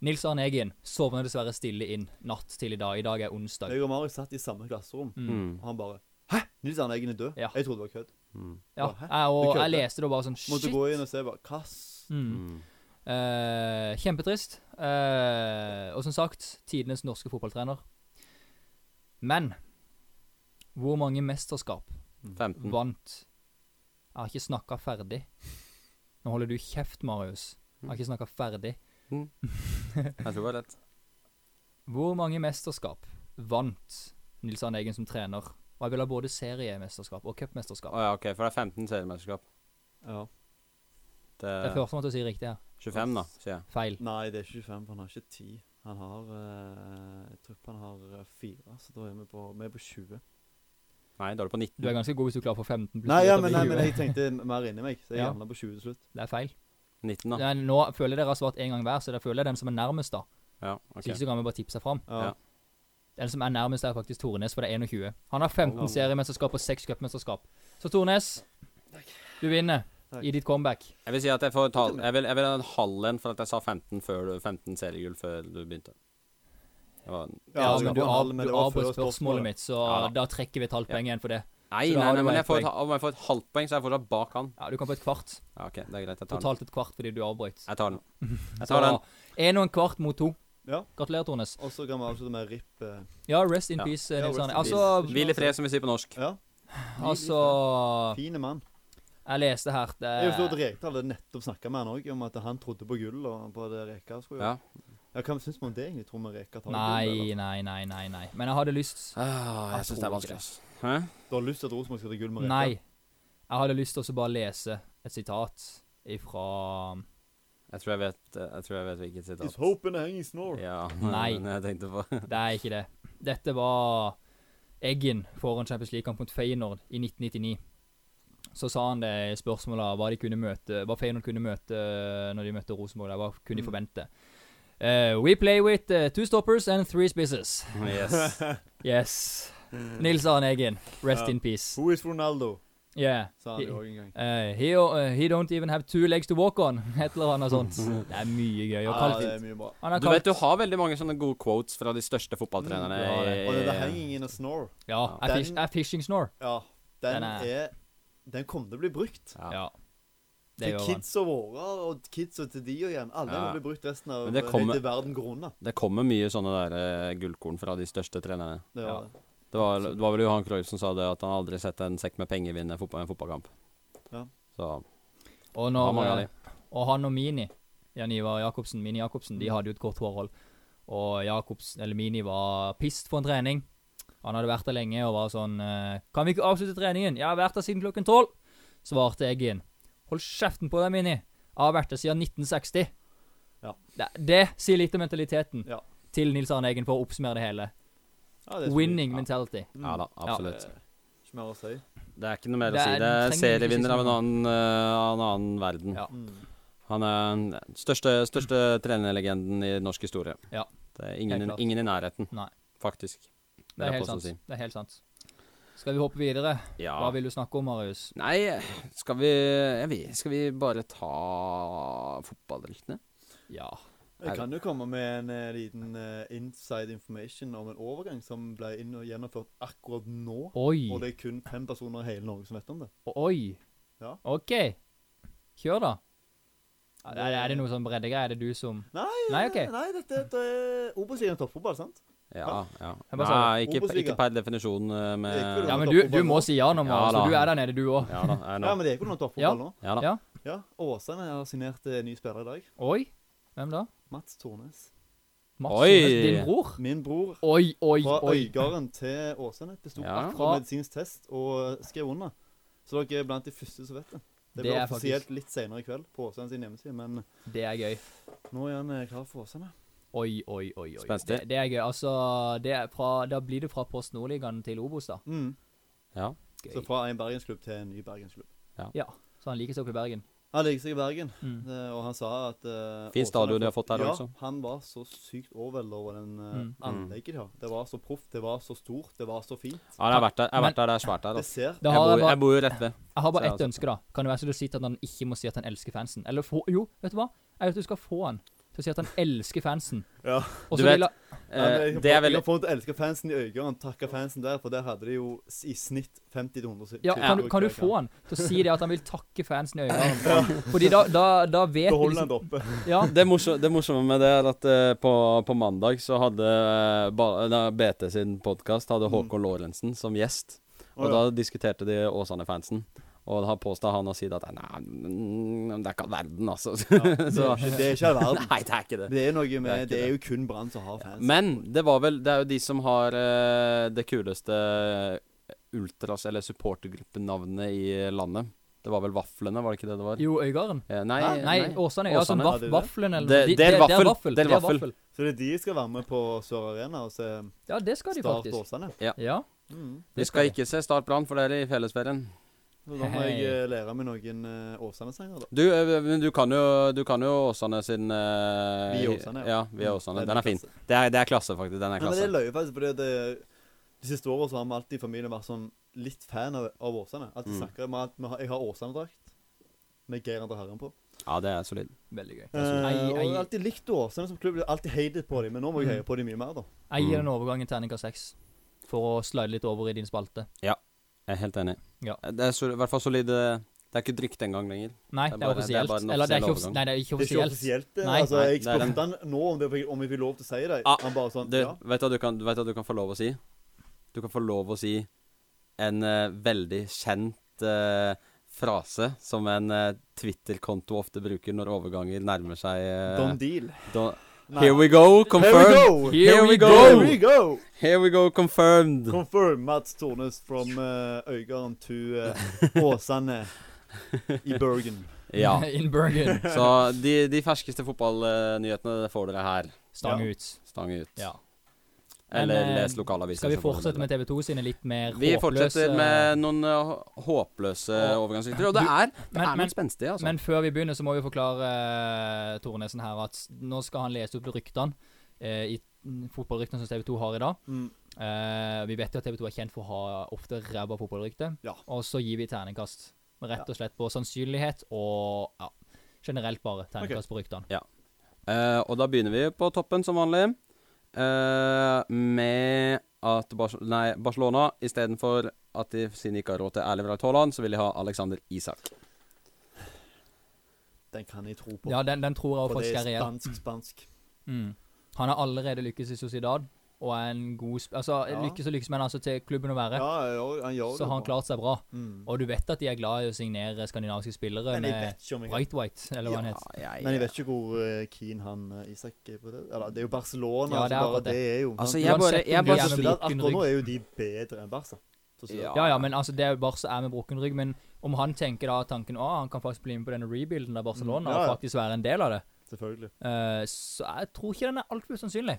Nils Arne Eggen sovner dessverre stille inn natt til i dag. I dag er onsdag. eh, Jeg og Marius satt i samme klasserom, Mm. Mm. og han bare Hæ? Nils Arne Eggen er død? Ja. Jeg trodde det var kødd. Mm. Ja, Hæ? jeg, og Du kødder. jeg leste det og bare sånn Måtte Shit. gå inn og se bare Hva s- Mm. Mm. Eh, kjempetrist. Eh, og som sagt, tidenes norske fotballtrener. Men hvor mange mesterskap Mm. 15. vant Jeg har ikke snakka ferdig. Nå holder du kjeft, Marius. Jeg har ikke snakka ferdig. Jeg tror det var lett. Hvor mange mesterskap vant Nils Arne Eggen som trener? Og jeg vil ha både seriemesterskap og Å cupmesterskap. ja, OK. For det er 15 seriemesterskap. Ja. Det Det er er førstemann til å si riktig her. 25, da, sier jeg. Feil. Nei, det er ikke 25, for han har ikke 10. Han har eh, Jeg tror ikke han har eh, 4, så da er vi på, vi er på 20. Nei, da er du på 19. Du er ganske god hvis du klarer for 15 pluss. Nei, to, ja, da men, blir nei, 20. men jeg tenkte mer inni meg, så jeg Ja. havna på 20 til slutt. Det er feil. 19, da. Men nå føler jeg dere har svart én gang hver, så da føler jeg den som er nærmest, da. Ja, Så OK. ikke så kan vi bare tipse fram. Ja. Den som er nærmest, er faktisk Tornes, for det er 21. Han har 15 Oh. seriemesterskap og 6 cupmesterskap. Så Tornes, du vinner Takk. i ditt comeback. Jeg vil si at jeg får ta Jeg vil, jeg vil ha en halv en for at jeg sa 15 før du 15 seriegull før du begynte. Det var Ja, men du, av, du avbrøt spørsmålet mitt, så Ja, da trekker vi et halvt poeng igjen for det. Nei, Så da nei, har nei, du men jeg ett får, poeng. et, om jeg får et halvt poeng, så er jeg fortsatt bak han. Ja, Du kan få et kvart. Ja, OK, det er greit. Jeg tar den. Totalt et kvart fordi du avbrøt. Jeg tar den. Jeg Så tar den. én og en kvart mot to. Ja. Gratulerer, Tornes. Og så kan vi avslutte med RIP. eh, Ja, rest in Ja. peace, Ja, Nils rest Arne. in Altså, peace. Hvil i fred, som vi sier på norsk. Ja, altså fine mann. Jeg leste her eh, det, Jeg forstår at Rekdal hadde nettopp snakka med han òg om at han trodde på gull og på det Reka skulle gjøre. Ja. Ja, hva syns vi om det egentlig? Tror vi Reka tar gull? Nei, eller? nei, nei, nei. nei Men jeg hadde lyst Ah, Jeg jeg syns tror det er ikke vanskelig, altså. Hæ? Du har lyst til at Rosenborg skal ta gull med Reka? Nei. Jeg hadde lyst til å så bare lese et sitat ifra Jeg tror jeg vet, jeg tror jeg vet hvilket Is sitat. hope in a hanging snore. Ja, Nei. men jeg tenkte på Det er ikke det. Dette var Eggen foran Champions League-kamp mot Feyenoord i 1999. Så sa han det i spørsmålet hva de kunne møte, hva Feyenoord kunne møte eh, når de møtte Rosenborg. der, Hva kunne de Mm. forvente? Eh, we play with eh, two stoppers and three spices. Yes. Yes. Nils Arne Eggen, rest Mm. Ja. in peace. Who is Ronaldo? Yeah. sa han jo òg en gang. Eh, he, eh, he don't even have two legs to walk on. Et eller annet sånt. Det er mye gøy. Og Ja, kalt, det er mye bra. han har Du vet kalt du har veldig mange sånne gode quotes fra de største fotballtrenerne. Ja, Mm, det- Og det der hanging in a snore, Ja, er, Den- fish, er fishing snore. ja, den Den er- er Den kommer til å bli brukt. Ja. Ja. Det Til gjør han. kidsa våre og kidsa til de og igjen. Alle Ja. vil bli brukt resten av Men det kommer- til verden går unna. Det kommer mye sånne der eh, gullkorn fra de største trenerne. Det Ja. var det. Det var, det var vel Johan Cruyff som sa det, at han aldri sett en sekk med penger vinne fotball, en fotballkamp. Ja. Så Og, han har mange av når, eh, de. og han og Mini, Jan Ivar Jacobsen, Mini Jacobsen, de hadde jo et godt forhold. Og Jacobs, eller Mini var pissed for en trening. Han hadde vært der lenge og var sånn eh, 'Kan vi ikke avslutte treningen?' 'Jeg har vært der siden klokken tolv', svarte Eggen. 'Hold kjeften på deg, Mini. Jeg har vært der siden 1960'. Ja. Det, det sier litt om mentaliteten Ja. til Nils Arne Eggen, for å oppsummere det hele. Ja, det er så Winning mye. mentality. Mm. Ja da, absolutt. Eh, Ikke mer å si. Det er ikke noe mer å Det er- si. Det den er trenger ikke serievinner si av en noe. annen, eh, av en annen verden. Ja. Mm. Han er den største, største trenerlegenden i norsk historie. Ja. Det er Helt ingen, klart. ingen i nærheten, Nei. faktisk. Det er vil jeg helt påstå å sant. Det er helt sant. Skal vi hoppe videre? Si. Ja. Hva vil du snakke om, Marius? Nei, skal vi, jeg vet, skal vi bare ta fotballheltene? Ja. Jeg kan jo komme med en eh, liten eh, inside information om en overgang som ble inn og gjennomført akkurat nå. Oi. Og det er kun fem personer i hele Norge som vet om det. Oi. Ja. OK. Kjør, da. Er, er det noe sånn breddegreier? Er det du som Nei, eh, Nei, ok. nei dette, dette er Obos-ligaen toppfotball, sant? Ja, ja. Jeg bare sa Nei, ikke, Obos-liga. ikke per definisjon eh, Det er ikke med Ja, men du, du må si ja nå, Ja, Marius. da. for du er der nede, du òg. Ja da, er Ja, nå. men det er ikke noe toppfotball Ja. nå. Ja da. Ja. Ja, Åsane har signert eh, ny spiller i dag. Oi. Hvem da? Mats Tornes. Mats Oi. Sundnes, din bror? Min bror Oi, oi, fra oi. Øygarden til Åsane besto Ja. akkurat medisinsk test og eh, skrev under. Så dere er blant de første som vet det. Det Det blir er offisielt litt senere i kveld på Åsane sin hjemmeside, men Det er gøy. nå er han eh, klar for Åsane. Oi, oi, oi. oi. Spenstig. Det, det er gøy. Altså, det er fra, da blir det fra Post Nordligaen til Obos, da. Mm. Ja. Gøy. Så fra en bergensklubb til en ny bergensklubb. Ja. Så han liker seg oppe i Bergen. Han ligger seg i Bergen, Mm. det, og han sa at uh, Fin stadion de har fått der ja, også. Han var så sykt overveldet over den eh, Mm. anlegget de har. Det var så proft, det var så stort, det var så fint. Ja, jeg har vært der. Jeg har vært der, det er svært der. Det Altså. ser Da Jeg, har bor, jeg, bare, jeg bor jo rett ved. jeg har Så bare jeg ett har ønske, da. Kan det være så du sier at han ikke må si at han elsker fansen? Eller få, jo, vet du hva? Jeg vet du skal få han til å si at han elsker fansen. Ja. Og Du så vet- vil han Eh, det er veldig Jeg har elske fansen i Øygarden, takke fansen der, for der hadde de jo s- i snitt 50-100 Ja, kan, du- kan du få han til å si det at han vil takke fansen i øynene? Fordi da, da, da vet vi Behold liksom han oppe. Ja, det, morso- det morsomme med det er at eh, på, på mandag så hadde eh, ba, da, BT sin podkast hadde Håkon Lorentzen som gjest. Og Å, da ja. diskuterte de Åsane-fansen. Og da påstod han å si at Nei, mm, det er ikke all verden, altså. så, Det det er ikke all verden. nei, det er ikke det. Det er noe Det er med ikke Det er jo kun Brann som har fans. Men det var vel Det er jo de som har eh, det kuleste ultras- eller supportergruppenavnet i landet. Det var vel Vaflene, var det ikke det det var? jo, Øygarden. Eh, nei, Nei, Åsane. Ja, sånn Åsane. vaf, Ja, det er det. Vaflen eller Det- noe. Del De- det- det er Vaffel, vaffel. Del Det er Vaffel. vaffel. Så det er de som skal være med på Sør Arena og se Ja, det skal de Start faktisk. Åsane. Ja, Mm. Vi det skal ikke se Start Brann for dere i fellesferien. Så da må jeg Hei. eh, lære meg noen eh, Åsane-sanger, da. Du, eh, men du kan jo, du kan jo Åsane sin eh, Vi er Åsane, ja. Ja, vi er Åsane. Den Den er er fin. klasse. Det er, det er klasse, faktisk. Den er Nei, men det klasse. løy faktisk, fordi det, de siste årene så har vi alltid i familien vært sånn litt fan av, av Åsane. Alltid Mm. snakker om at vi har, jeg har Åsane-drakt med Geir Andre Herren på. Ja, det er solid. veldig gøy. Eh, og jeg har Jeg alltid likt Åsane som klubb. Jeg har alltid hatet på dem, men nå må jeg heie på dem mye mer, da. jeg Mm. gir den overgangen terningkast seks, for å slide litt over i din spalte. Jeg er helt enig. Ja. Det er sol, i hvert fall solid eh, Det er ikke et rykte engang lenger. Nei, Det er det bare- er det er offisielt. bare en Eller det er ikke offisiell offisielt. overgang. Nei, det er ikke Det er ikke offisielt. offisielt. det. Nei. altså, Nei, jeg det er en- spurte han nå om, det, om jeg fikk lov til å si det. Ah, han bare sånn Du, ja. vet, du hva du kan, vet du hva du kan få lov å si? Du kan få lov å si en eh, veldig kjent eh, frase som en eh, Twitter-konto ofte bruker når overganger nærmer seg eh, Don Deal. don- Nei. Here we go, confirmed! Here we go! Here we go! Here we go! Here we go, confirmed! Confirm Mats Tornes from uh, Øygarden to uh, Åsane i Bergen. Ja. In Bergen. Så de, de ferskeste fotballnyhetene får dere her. Stang Ja. ut. Stang ut. Ja. Eller Men, eh, les lokalavisen. Skal vi fortsette med TV2 sine litt mer Vi håpløse fortsetter med noen eh, hå- håpløse Og- overgangsrykter. Og det Du- er, det men- er men- noen spenstige, altså. Men før vi begynner, så må vi forklare eh, Tornesen her at nå skal han lese opp ryktene. eh, i mm, fotballryktene som TV 2 har i dag. Mm. Eh, vi vet jo at TV 2 er kjent for å ha ofte ræva fotballrykte. Ja. Og så gir vi terningkast. Rett Ja. og slett på sannsynlighet og ja, generelt bare terningkast på ryktene. Eh, og da begynner vi på toppen, som vanlig. Eh, med at Bars nei, Barcelona istedenfor at de siden de ikke har råd til Erling Braut Haaland, så vil de ha Alexander Isak. Den kan jeg tro på. Ja, den, den tror jeg for det faktisk er er reell. spansk, spansk. Mm. Han har allerede lykkes i Sociedad, og er en god sp Altså, Ja. lykkes og lykkes, men altså til klubben å være. Ja, han gjør- han gjør så har han det bra. klart seg bra. Mm. Og eh, du vet at de er glad i å signere skandinaviske spillere Men jeg med vet ikke om jeg Bright White, eller hva han het. jeg, men jeg vet ikke hvor eh, keen han eh, Isak er på det. Eller, det er jo Barcelona. Ja, det det, er er bare, akkurat det. det. er jo Altså, sant? jeg bare, jeg Uansett om de bare Så Sociedad- er med brukken Akkurat nå rygg. er jo de bedre enn Barca. Så Sociedad. Ja. Ja, ja, men altså, det er jo Barca er med brukken rygg. Men om han tenker da tanken at han kan faktisk bli med på denne rebuilden av Barcelona, Mm, ja, ja. og faktisk være en del av det, Selvfølgelig. eh, så jeg tror ikke den er altfor usannsynlig.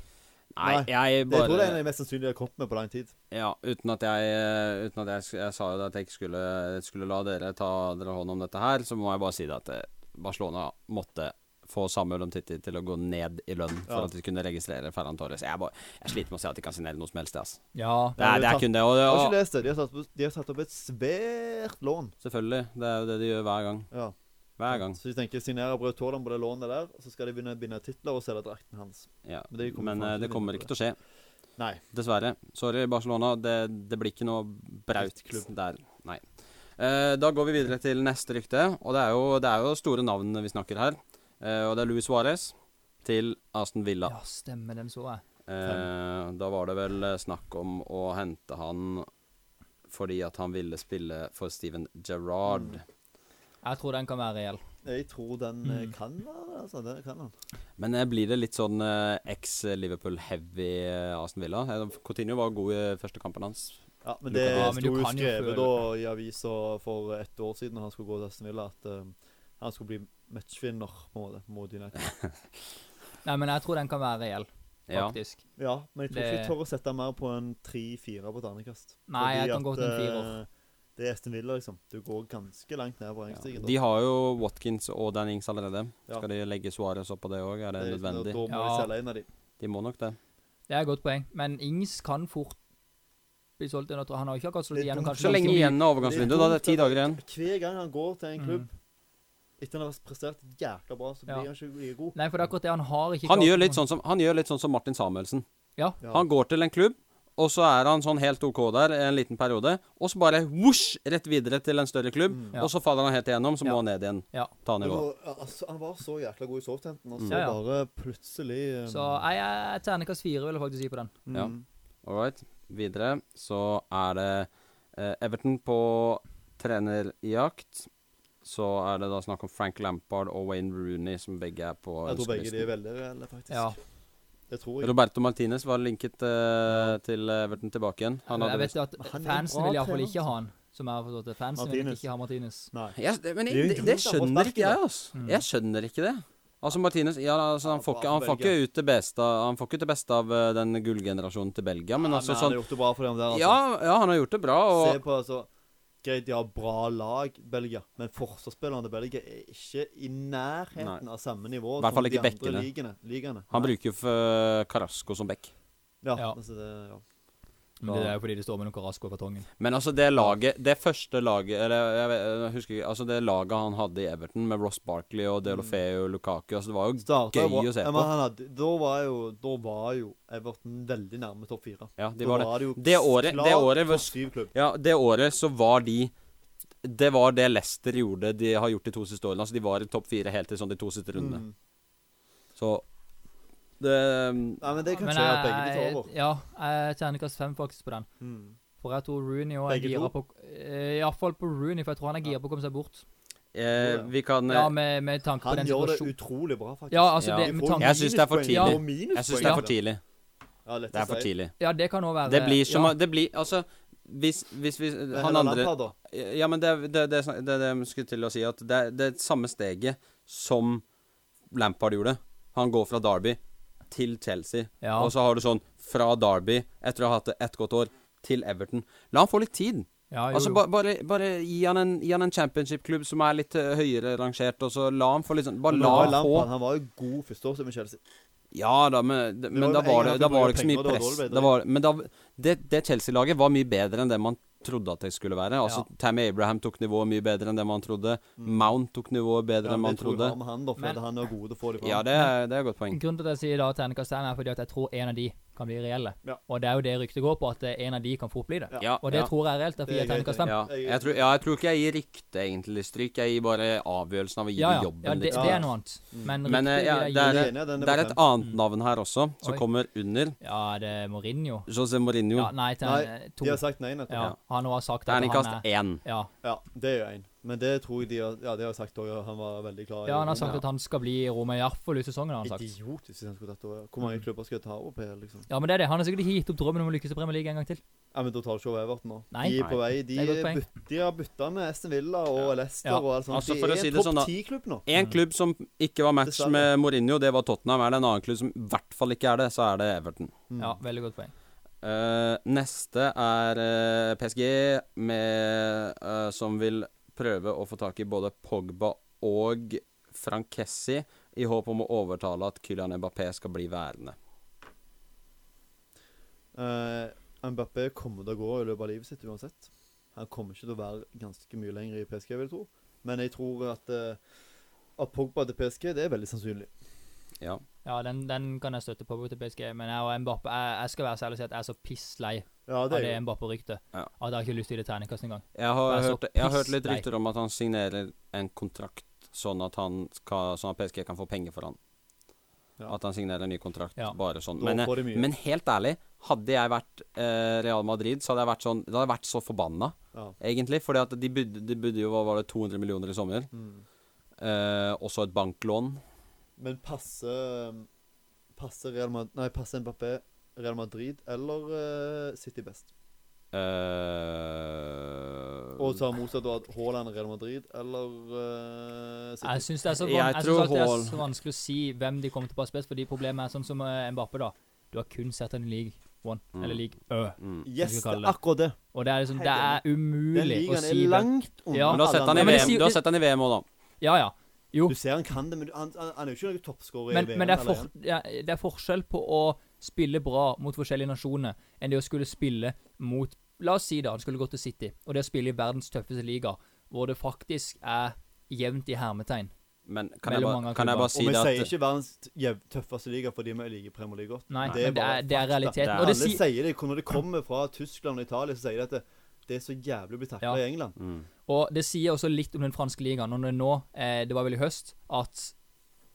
Nei, Nei, jeg Det, jeg tror det er en bare av de mest sannsynlige jeg har kommet med på lang tid. Ja, uten at jeg eh, Uten at jeg, sk- jeg sa jo at jeg ikke skulle, skulle la dere ta dere hånd om dette her, så må jeg bare si det at eh, Barcelona måtte få Samuel Omtiti til å gå ned i lønn for Ja. at de kunne registrere Ferran Torres. Jeg, bare, jeg sliter med å se at de kan signere noe som helst, jeg, altså. Ja. Det er, det er kun det. Og, det, Jeg har og ikke lest det. De har satt, opp- de har satt opp et svært lån. selvfølgelig. Det er jo det de gjør hver gang. Ja. Hver gang. Så de tenker signere Braut Haaland på det lånet der, og så skal de begynne å binde titler og selge drakten hans. Ja. Men det kommer Men faen eh, ikke det til å kommer bli ikke til å skje. Nei. Dessverre. Sorry, Barcelona. Det, det blir ikke noe braut Drittklubb. der. Nei. Eh, da går vi videre til neste rykte, og det er jo, det er jo store navn vi snakker her. Eh, og det er Luis Suárez til Aston Villa. ja, stemmer, den så jeg. Eh, da var det vel eh, snakk om å hente han fordi at han ville spille for Steven Gerrard. Mm. Jeg tror den kan være reell. Jeg tror den eh, Mm. kan være det, altså. Den kan han. Men eh, blir det litt sånn eh, ex-Liverpool-heavy eh, Aston Villa? Eh, Coutinho var god i første kampen hans. Ja, men Du det kan- Ja, men sto du jo kan jo skrevet føle- da i avisa for ett år siden når han skulle gå til Aston Villa, at eh, han skulle bli matchvinner på en måte mot United. Nei, men jeg tror den kan være reell, Ja. faktisk. Ja, men jeg tror ikke Det- jeg tør å sette mer på en 3-4 på terningkast. Nei, jeg Fordi kan gå til en at, firer. eh, Det er Aston Villa, liksom. Du går ganske langt ned på Ja. rangstigen. De har jo Watkins og Dan Ings allerede. Ja. Skal de legge Suárez oppå det òg? Er det nødvendig? Da må de Ja. selge en av de. De må nok det. Det er et godt poeng. Men Ings kan fort bli solgt. Jeg tror- Han har jo ikke akkurat slått Det er igjennom. dumt. kanskje Så lenge ganske mye. igjen av overgangsvinduet. Da det er ti dager igjen. Hver gang han går til en Mm. klubb etter han har prestert jækla bra, så blir Ja. han ikke like god. Nei, for det er akkurat det. Han har ikke Han klart- gjør litt sånn som, han gjør litt sånn som Martin Samuelsen. Ja. Ja. Han går til en klubb, og så er han sånn helt OK der en liten periode. Og så bare whoosh, rett videre til en større klubb. Mm. Ja. Og så faller han helt igjennom, så Ja. må han ned igjen. Ja. Ta Det nivå. var- ja, altså, han var så jækla god i Southampton, og så Mm. Ja, ja. bare plutselig eh, Så eh, jeg, jeg terningkast fire vil jeg faktisk gi på den. mm, Ja. All right. Videre så er det eh, Everton på trenerjakt. Så er det da snakk om Frank Lampard og Wayne Rooney, som begge er på Jeg tror begge de er ønskelisten. veldig reelle, faktisk. Ja. Det tror jeg. Roberto Martinez var linket eh, til Everton tilbake igjen. Han jeg hadde vet jo at Men han er jo bra fansen vil iallfall trener. ikke ha han. Som jeg har forstått det. Fansen vil Martinez. ikke ha Martinez. Nei. Ja, det, men Det er jo jeg, det, det dumt, da, på skjønner ikke sparket, jeg, altså. Mm. Jeg skjønner ikke det. Altså Martinez ja, altså, han, Ja, får bra ikke, han, for får ikke Belgia. ut det beste, av- han får ikke det beste av eh, den gullgenerasjonen til Belgia, men Ja, altså han sånn har gjort det bra for dem der, altså. ja, ja, han har gjort det bra, Se og på altså Greit, de har bra lag, Belgia, men forsvarsspillerne til Belgia er ikke i nærheten av samme nivå I hvert fall som de ikke andre bekkene. ligene. ligaene. han Nei. bruker jo for Carasco som back. Ja, Ja. altså det ja. Men det er jo fordi det står med noen Carasco i kartongen. Men altså, det laget Det første laget Eller jeg, vet, jeg husker ikke Altså, det laget han hadde i Everton, med Ross Barkley og Delofeo og Lukaku Altså, det var jo Starta jo Gøy bra. å se Ja, på. men han hadde, da, var jo, da var jo Everton veldig nærme topp fire. Ja, de Da var det. jo Det året- det klart året var- topp syv klubb. Ja, det året så var de det var det Leicester gjorde de har gjort de to siste årene. Altså De var i topp fire helt til sånn de to siste rundene. Mm. Så det Nei, men det kan Men eh, skje at begge jeg- blir over. Ja, jeg terningkast fem faktisk på den. Mm. For jeg tror Rooney også er Begge to? gira på eh, Iallfall på Rooney, for jeg tror han er gira på å komme seg bort. eh, Vi kan eh, Ja, med, med tanke på Han den gjør det situasjonen. utrolig bra, faktisk. Ja, altså, Ja. det, med tanke Jeg synes det er for tidlig. Jeg syns det er Ja. for tidlig. Ja, lett Det er å for si. tidlig. Ja, det kan òg være Det blir som ja. å- Det blir Altså, hvis, hvis vi Men Han Haaland andre har da. Ja, men det er det, det, er- det, er det jeg skulle til å si, at det, er- det er samme steget som Lampard gjorde. Han går fra Derby til Chelsea, Ja. og så har du sånn fra Derby, etter å ha hatt det ett godt år, til Everton. La han få litt tid. ja, jo, Altså, jo. ba, bare, bare gi han en, gi han en championship-klubb som er litt eh, høyere rangert, og så la han få litt sånn Bare Men la nå er han få Lampard, Han var jo god førsteårsdag med Chelsea. Ja da, men, var men jo da en var gang det, at da vi var det brukte ikke så mye penger, og det var press. dårlig bedre. Da var, men da, det, det Chelsea-laget var mye bedre enn det man trodde at det skulle være. Altså, Tammy Abraham tok nivået mye bedre enn det man trodde. Mount tok nivået bedre Mm. Ja, enn men man jeg tror jeg trodde. har med han, da, for Men- at han er god til å få det fram. Ja, det er, det er et godt poeng. Grunnen til at jeg sier da terningkast fem, er fordi at jeg tror en av de kan bli reelle. Ja. Og det er jo det ryktet går på, at eh, en av de kan fort bli det. Ja. Ja, Og det ja, tror jeg er reelt. Derfor Det gir er jeg greit, terningkast fem. ja. Jeg, tror, ja, jeg tror ikke jeg gir rykte egentlig stryk, jeg gir bare avgjørelsen av å gi Ja, ja. jobben ja det, litt. Ja, det ja. er noe annet. Men, Men, eh, ryktet ja, det vil jeg gi- er- Jeg enig, den er Det er et bestemt. annet navn her også, som Oi. kommer under. ja, det er Mourinho. José Mourinho. Ja, nei, til Nei, eh, to. De har sagt nei nettopp. Ja, han også har sagt at han eh. Terningkast er én. ja. Ja, det er jo én. Men det tror jeg de har Ja, det har jeg sagt òg. Han var veldig klar. i ja, han Roma. har sagt at han skal bli i Roma i hvert fall ut sesongen, har han sagt. Mm. Idiotisk hvis han skulle tatt over. Hvor mange klubber skal jeg ta opp her, liksom? Ja, men det er det. Han har sikkert ikke gitt opp drømmen om å lykkes i Premier League en gang til. Ja, men da tar du ikke over Everton nå. Nei. De er på vei. De Det er et godt poeng. byt- de har bytta med Aston Villa og Leicester Ja. og alt sånt. Altså, for å de si er det en sånn, da. topp ti-klubb nå. En klubb som ikke var match med Dessverre. Mourinho, det var Tottenham. Er det en annen klubb som i hvert fall ikke er det, så er det Everton. Mm. Ja, veldig godt poeng. Eh, neste er eh, PSG, med, eh, som vil prøve å få tak i både Pogba og Frankessi, i håp om å overtale at Kylian Mbappé skal bli værende. Eh, Mbappé kommer til å gå i løpet av livet sitt uansett. Han kommer ikke til å være ganske mye lenger i PSG, vil jeg tro. Men jeg tror at, eh, at Pogba til PSG, det er veldig sannsynlig. Ja. Ja, den, den kan jeg støtte på til PSG, men jeg og Mbappe jeg, jeg skal være så ærlig og si at jeg er så pisslei Ja, av det det er jo Mbappe-ryktet Ja. at jeg har ikke lyst til å gi det terningkast engang. Jeg har, Det er så hørt, jeg har hørt litt piss, nei. rykter om at han signerer en kontrakt sånn at, han skal, sånn at PSG kan få penger for han. Ja. At han signerer en ny kontrakt, Ja. bare sånn. Da Men, eh, får de mye. men helt ærlig, hadde jeg vært eh, Real Madrid, så hadde jeg vært sånn Da hadde jeg vært så forbanna, ja. egentlig. Fordi at de budde, de budde jo hva var det, 200 millioner i sommer. Mm. Eh, også et banklån. Men passer eh, Passer Real Madrid Nei, passer Mbappé Real Madrid eller eh, City best? Eh, Og så har motsatt da at Haaland Real Madrid eller eh, City. Jeg syns det er så, Jeg van jeg synes tror alltid det er Haaland- så vanskelig å si hvem de kommer til å passe best, fordi problemet er sånn som eh, Mbappe, da. Du har kun sett han i league one, Mm. eller league ø. mm. yes, vi det kalle er det. akkurat det. Og det er liksom Det Helt er Den umulig å ligaen er si hvem langt unna. Ja. Men du har sett han i Ja, men det VM sier- Du har sett han i VM òg, da. Ja, ja. Jo. Du ser han kan det, men du- han, han han er jo ikke noen toppskårer i Men, VM. men det, er eller for, ja, det er forskjell på å spille bra mot forskjellige nasjoner enn det å skulle spille mot La oss si da, han skulle gå til City, og det å spille i verdens tøffeste liga, hvor det faktisk er jevnt i hermetegn. Men kan jeg, Mellom bare, mange kan jeg klubber. bare Og si vi det at sier ikke verdens jev- tøffeste liga fordi vi liker Premier League godt. Nei, Nei. det men det bare er, det er fakta. realiteten. Det er- Og Alle det sier, sier det. Når det kommer fra Tyskland og Italia, så sier de at det, det er så jævlig å bli takla Ja. i England. mm. og det sier også litt om den franske ligaen. Når det nå, eh, det var vel i høst, at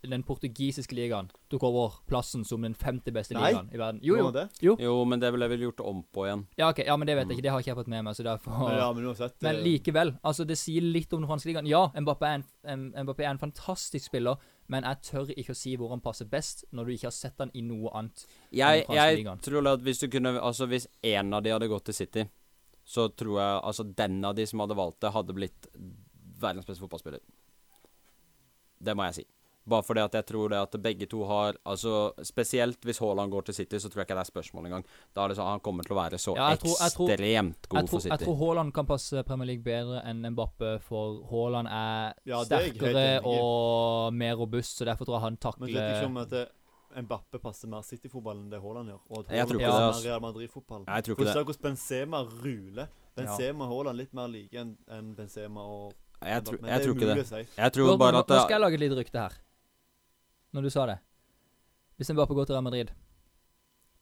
den portugisiske ligaen tok over plassen som den femte beste Nei. ligaen i verden. Jo, Nå jo. er Det. Jo, men det ville jeg vel gjort om på igjen. Ja, ok, ja, men det vet jeg ikke. Det har ikke jeg fått med meg, så derfor Men, ja, men uansett Men eh, likevel, altså det sier litt om den franske ligaen. Ja, Mbappé er, en, em- Mbappé er en fantastisk spiller, men jeg tør ikke å si hvor han passer best, når du ikke har sett han i noe annet. Jeg, Den franske jeg ligaen. tror at hvis du kunne Altså hvis én av de hadde gått til City, så tror jeg altså den av de som hadde valgt det, hadde blitt verdens beste fotballspiller. Det må jeg si. Bare fordi at jeg tror det at begge to har Altså Spesielt hvis Haaland går til City, så tror jeg ikke det er spørsmål engang. Da er det sånn Han kommer til å være så Ja, jeg tror- jeg tror- ekstremt god Jeg tror, for jeg City. tror Haaland kan passe Premier League bedre enn Mbappé, for Haaland er Ja, det er jeg helt sterkere enig i. og mer robust, så derfor tror jeg han Men vet ikke takler om at eh, Mbappe passer mer City-fotball enn det Haaland gjør. Og at Jeg tror Haaland passer ikke det, altså. mer Real Madrid-fotball. Jeg tror ikke For du det. ser hvordan Benzema ruler. Benzema og Haaland litt mer like enn enn Benzema og Jeg, tror- Mbappe. Men jeg tror ikke det. er det. umulig å si. Jeg tror Gordon, bare nå, at nå skal jeg lage et lite rykte her, når du sa det. Hvis Mbappé går til Real Madrid,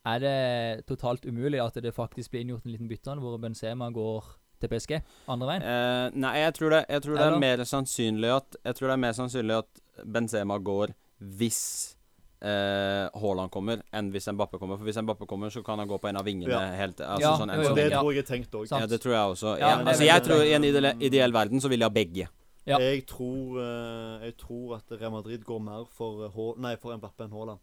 er det totalt umulig at det faktisk blir inngjort en liten bytte, hvor Benzema går til PSG andre veien. Eh, nei, jeg tror, det, jeg, tror det er Eller? mer sannsynlig at, jeg tror det er mer sannsynlig at Benzema går hvis eh, Haaland kommer, enn hvis Mbappe kommer. For hvis Mbappe kommer, så kan han gå på en av vingene. Ja. Helt, altså, Ja, sånn, jo, en jo, Og sånn det vinge. ja. tror jeg jeg tenkte òg. Sant. ja, det tror jeg også. Ja, Ja, men det altså, er jeg veldig- tror I en ideell, ideell verden så vil jeg ha begge. Ja. Jeg, tror, eh, jeg tror at Real Madrid går mer for, H nei, for Mbappé enn Haaland.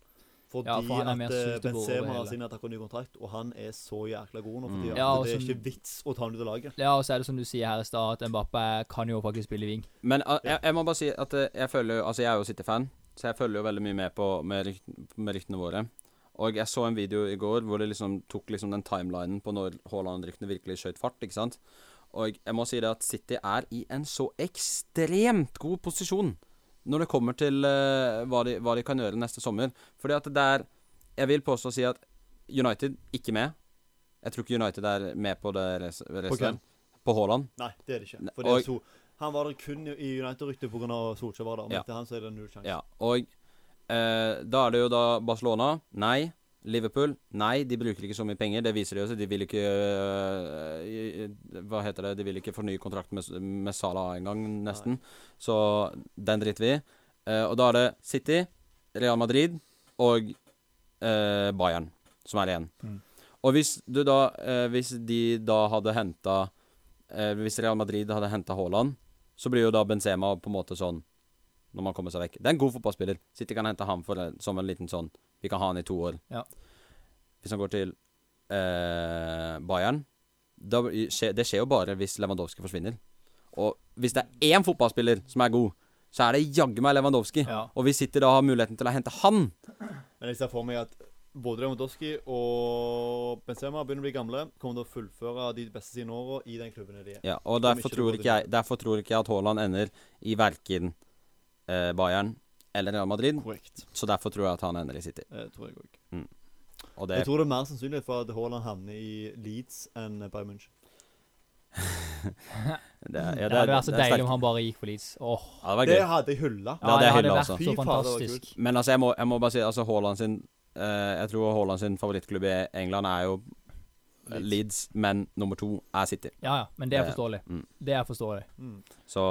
Fordi Ja, for han er mer at eh, suitable over Benzema hele. har signert akkurat ny kontrakt, og han er så jækla god nå for Mm. tida. Ja, at det og er som- ikke vits å ta ham ut av laget. Ja, og så er det som du sier her i stad, at Mbappé kan jo faktisk spille i ving. Men ah, jeg, jeg må bare si at eh, jeg føler jo Altså, jeg er jo City-fan, så jeg følger jo veldig mye med på med, rykt, med ryktene våre. Og jeg så en video i går hvor det liksom tok liksom den timelinen på når Haaland-ryktene virkelig skjøt fart, ikke sant? Og jeg må si det at City er i en så ekstremt god posisjon når det kommer til eh, hva, de, hva de kan gjøre neste sommer. Fordi at det er Jeg vil påstå å si at United ikke med. Jeg tror ikke United er med på det res- På hvem? resten. På Haaland. Nei, det er det ikke. Ne- For det og- er so han var der kun i United-ryktet pga. Solskjær var der. Men Ja. etter han så er det null sjanse. Ja, og eh, da er det jo da Barcelona. Nei. Liverpool. Nei, de bruker ikke så mye penger. Det viser de også. De vil ikke eh, i- i- Hva heter det? De vil ikke fornye kontrakten med, med Salah engang, nesten. Så den driter vi i. Eh, og da er det City, Real Madrid og eh, Bayern som er igjen. Mm. Og hvis du da eh, Hvis de da hadde henta eh, Hvis Real Madrid hadde henta Haaland, så blir jo da Benzema på en måte sånn når man kommer seg vekk. Det er en god fotballspiller. City kan hente ham for, en- som en liten sånn Vi kan ha han i to år. Ja. Hvis han går til eh, Bayern da, blir- skje- Det skjer jo bare hvis Lewandowski forsvinner. Og hvis det er én fotballspiller som er god, så er det jaggu meg Lewandowski. Ja. Og hvis City da har muligheten til å hente han Men jeg ser for meg at både Lewandowski og Benzema begynner å bli gamle. Kommer til å fullføre de beste sine åra i den klubben de er. ja, Og Om derfor ikke det tror, går ikke jeg, derfor tror ikke jeg at Haaland ender i verken eh, Bayern eller Real Madrid. Korrekt. Så derfor tror jeg at han ender i City. Eh, tror jeg òg. Og det Jeg tror det er mer sannsynlig for at Haaland havner i Leeds enn Bayern München. det, er- ja, det, hadde vært så det er deilig sterkt. om han bare gikk for Leeds. Åh, Ja, det var gøy. Det hadde jeg hylla. Ja, det er hylla vært også. Fy faen, det så var fantastisk. Men altså, jeg må, jeg må bare si altså, Haaland sin eh, Jeg tror Haaland sin favorittklubb i England er jo eh, Leeds. Leeds, men nummer to er City. Ja, ja, men det er Det- forståelig. mm. Det er forståelig. Mm. Så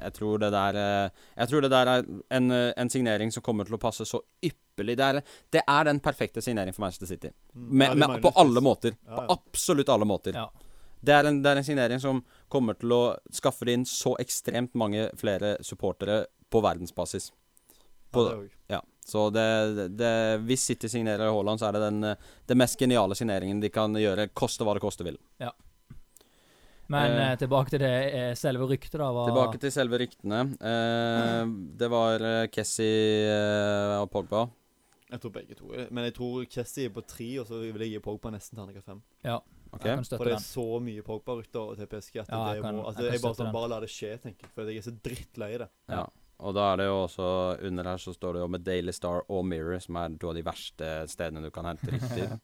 jeg tror det der eh, Jeg tror det der er en, eh, en signering som kommer til å passe så ypperlig. Det er, det er den perfekte signeringen for Manchester City. Mm. Ja, Med, de med, mangler på alle spiss. måter. Ja, På ja. absolutt alle måter. Ja. Det, er en, det er en signering som kommer til å skaffe inn så ekstremt mange flere supportere på verdensbasis. Ja, På, det òg. Ja, så det, det, hvis City signerer Haaland, så er det den, eh, det mest geniale signeringen de kan gjøre, koste hva det koste vil. Men Eh. eh, tilbake til det eh, selve ryktet, da. Var, Tilbake til selve ryktene. Eh, det var eh, Kessi eh, og Pogba. Jeg tror begge to. er- Men jeg tror Kessie er på tre, og så vil jeg gi Pogba nesten terningkast fem. Ok? Jeg For kan støtte det er den. så mye Pogba-rykter til PSG at Ja, jeg det kan- må, altså, jeg kan jeg bare, støtte den. sånn, bare la det skje, tenker jeg. For jeg er så drittlei det. Ja. Og da er det jo også under her så står det jo med Daily Star og Mirror, som er to av de verste stedene du kan hente rykter.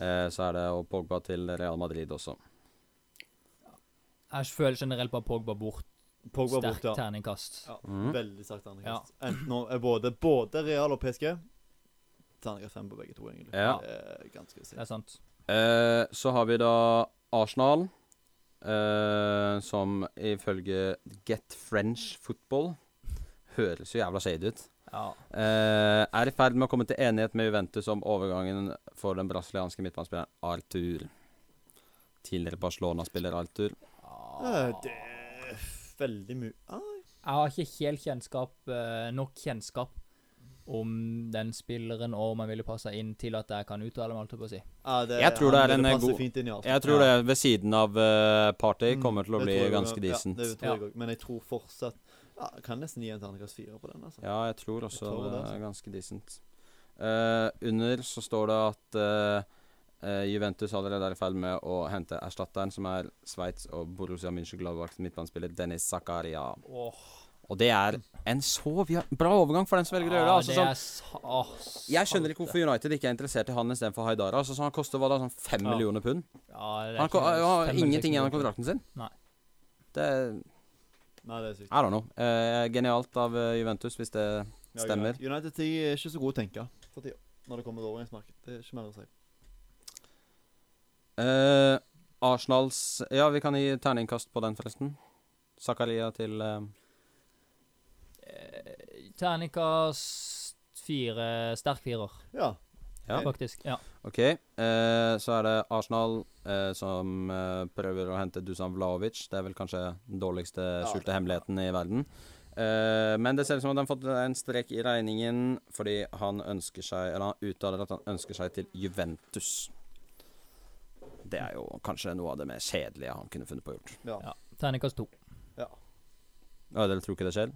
Eh, så er det og Pogba til Real Madrid også. Jeg føler generelt bare Pogba bort. Pogba Sterkt borte. Ja. terningkast. Ja, Mhm. Veldig sterkt terningkast. Enten nå er både, både Real og PSG Terningkast fem på begge to, egentlig. Ja. Det er ganske Det er sikkert. sant. Eh, så har vi da Arsenal, eh, som ifølge Get French Football Høres jo jævla shady ut. Ja. Eh, er i ferd med å komme til enighet med Juventus om overgangen for den brasilianske midtbanespilleren Arthur. Tidligere Barcelona-spiller Arthur. Eh, Ah. Det er veldig mye ah, Jeg har ikke helt kjennskap, eh, nok kjennskap om den spilleren og om han ville passe inn til at jeg kan uttale meg, holdt jeg på å si. ah, det, Jeg tror det er han- en passer god- fint inn i Arsenal. Jeg tror det ved siden av eh, Party Mm, kommer til å det bli tror jeg ganske også. decent. Ja, det tror jeg Ja. òg. Men jeg tror fortsatt ja, Jeg kan nesten gi en terningkast fire på den. altså. Ja, jeg tror også tror det, det altså. er ganske decent. Eh, under så står det at eh, eh, Juventus allerede er i ferd med å hente erstatteren, som er Sveits og Borussia München-Gladbachs midtbanespiller Dennis Zakaria. Åh, Og det er en så vi- bra overgang for den som velger å gjøre det. Altså, Ah, det sånn, er ah, sa- åh, jeg skønner ikke salte. hvorfor United ikke er interessert i han istedenfor Haidara. Altså, så han koster hva da, sånn fem Ja. millioner pund? ja, det er Han, ko- ikke- han har fem eller seks ingenting igjen av millioner. kontrakten sin. Nei. Det er Nei, det er sykt. I don't know. Eh, genialt av eh, Juventus, hvis det Ja, Stemmer. United- United de er ikke så gode å tenke for tida når det kommer til overgangsmarked. Det er ikke mer å si. Eh, Arsenals Ja, vi kan gi terningkast på den, forresten. Zakaria til eh, Eh, Terningkast fire, sterk firer, Ja. Ja. faktisk. Ja. OK. Eh, så er det Arsenal eh, som eh, prøver å hente Dusan Vlaovic. Det er vel kanskje den dårligste skjulte hemmeligheten i verden. Eh, men det ser ut som at han har fått en strek i regningen fordi han ønsker seg Eller han uttaler at han ønsker seg til Juventus. Det er jo kanskje noe av det mer kjedelige han kunne funnet på å gjort. ja. ja. Terningkast to. Ja, dere tror ikke det skjer?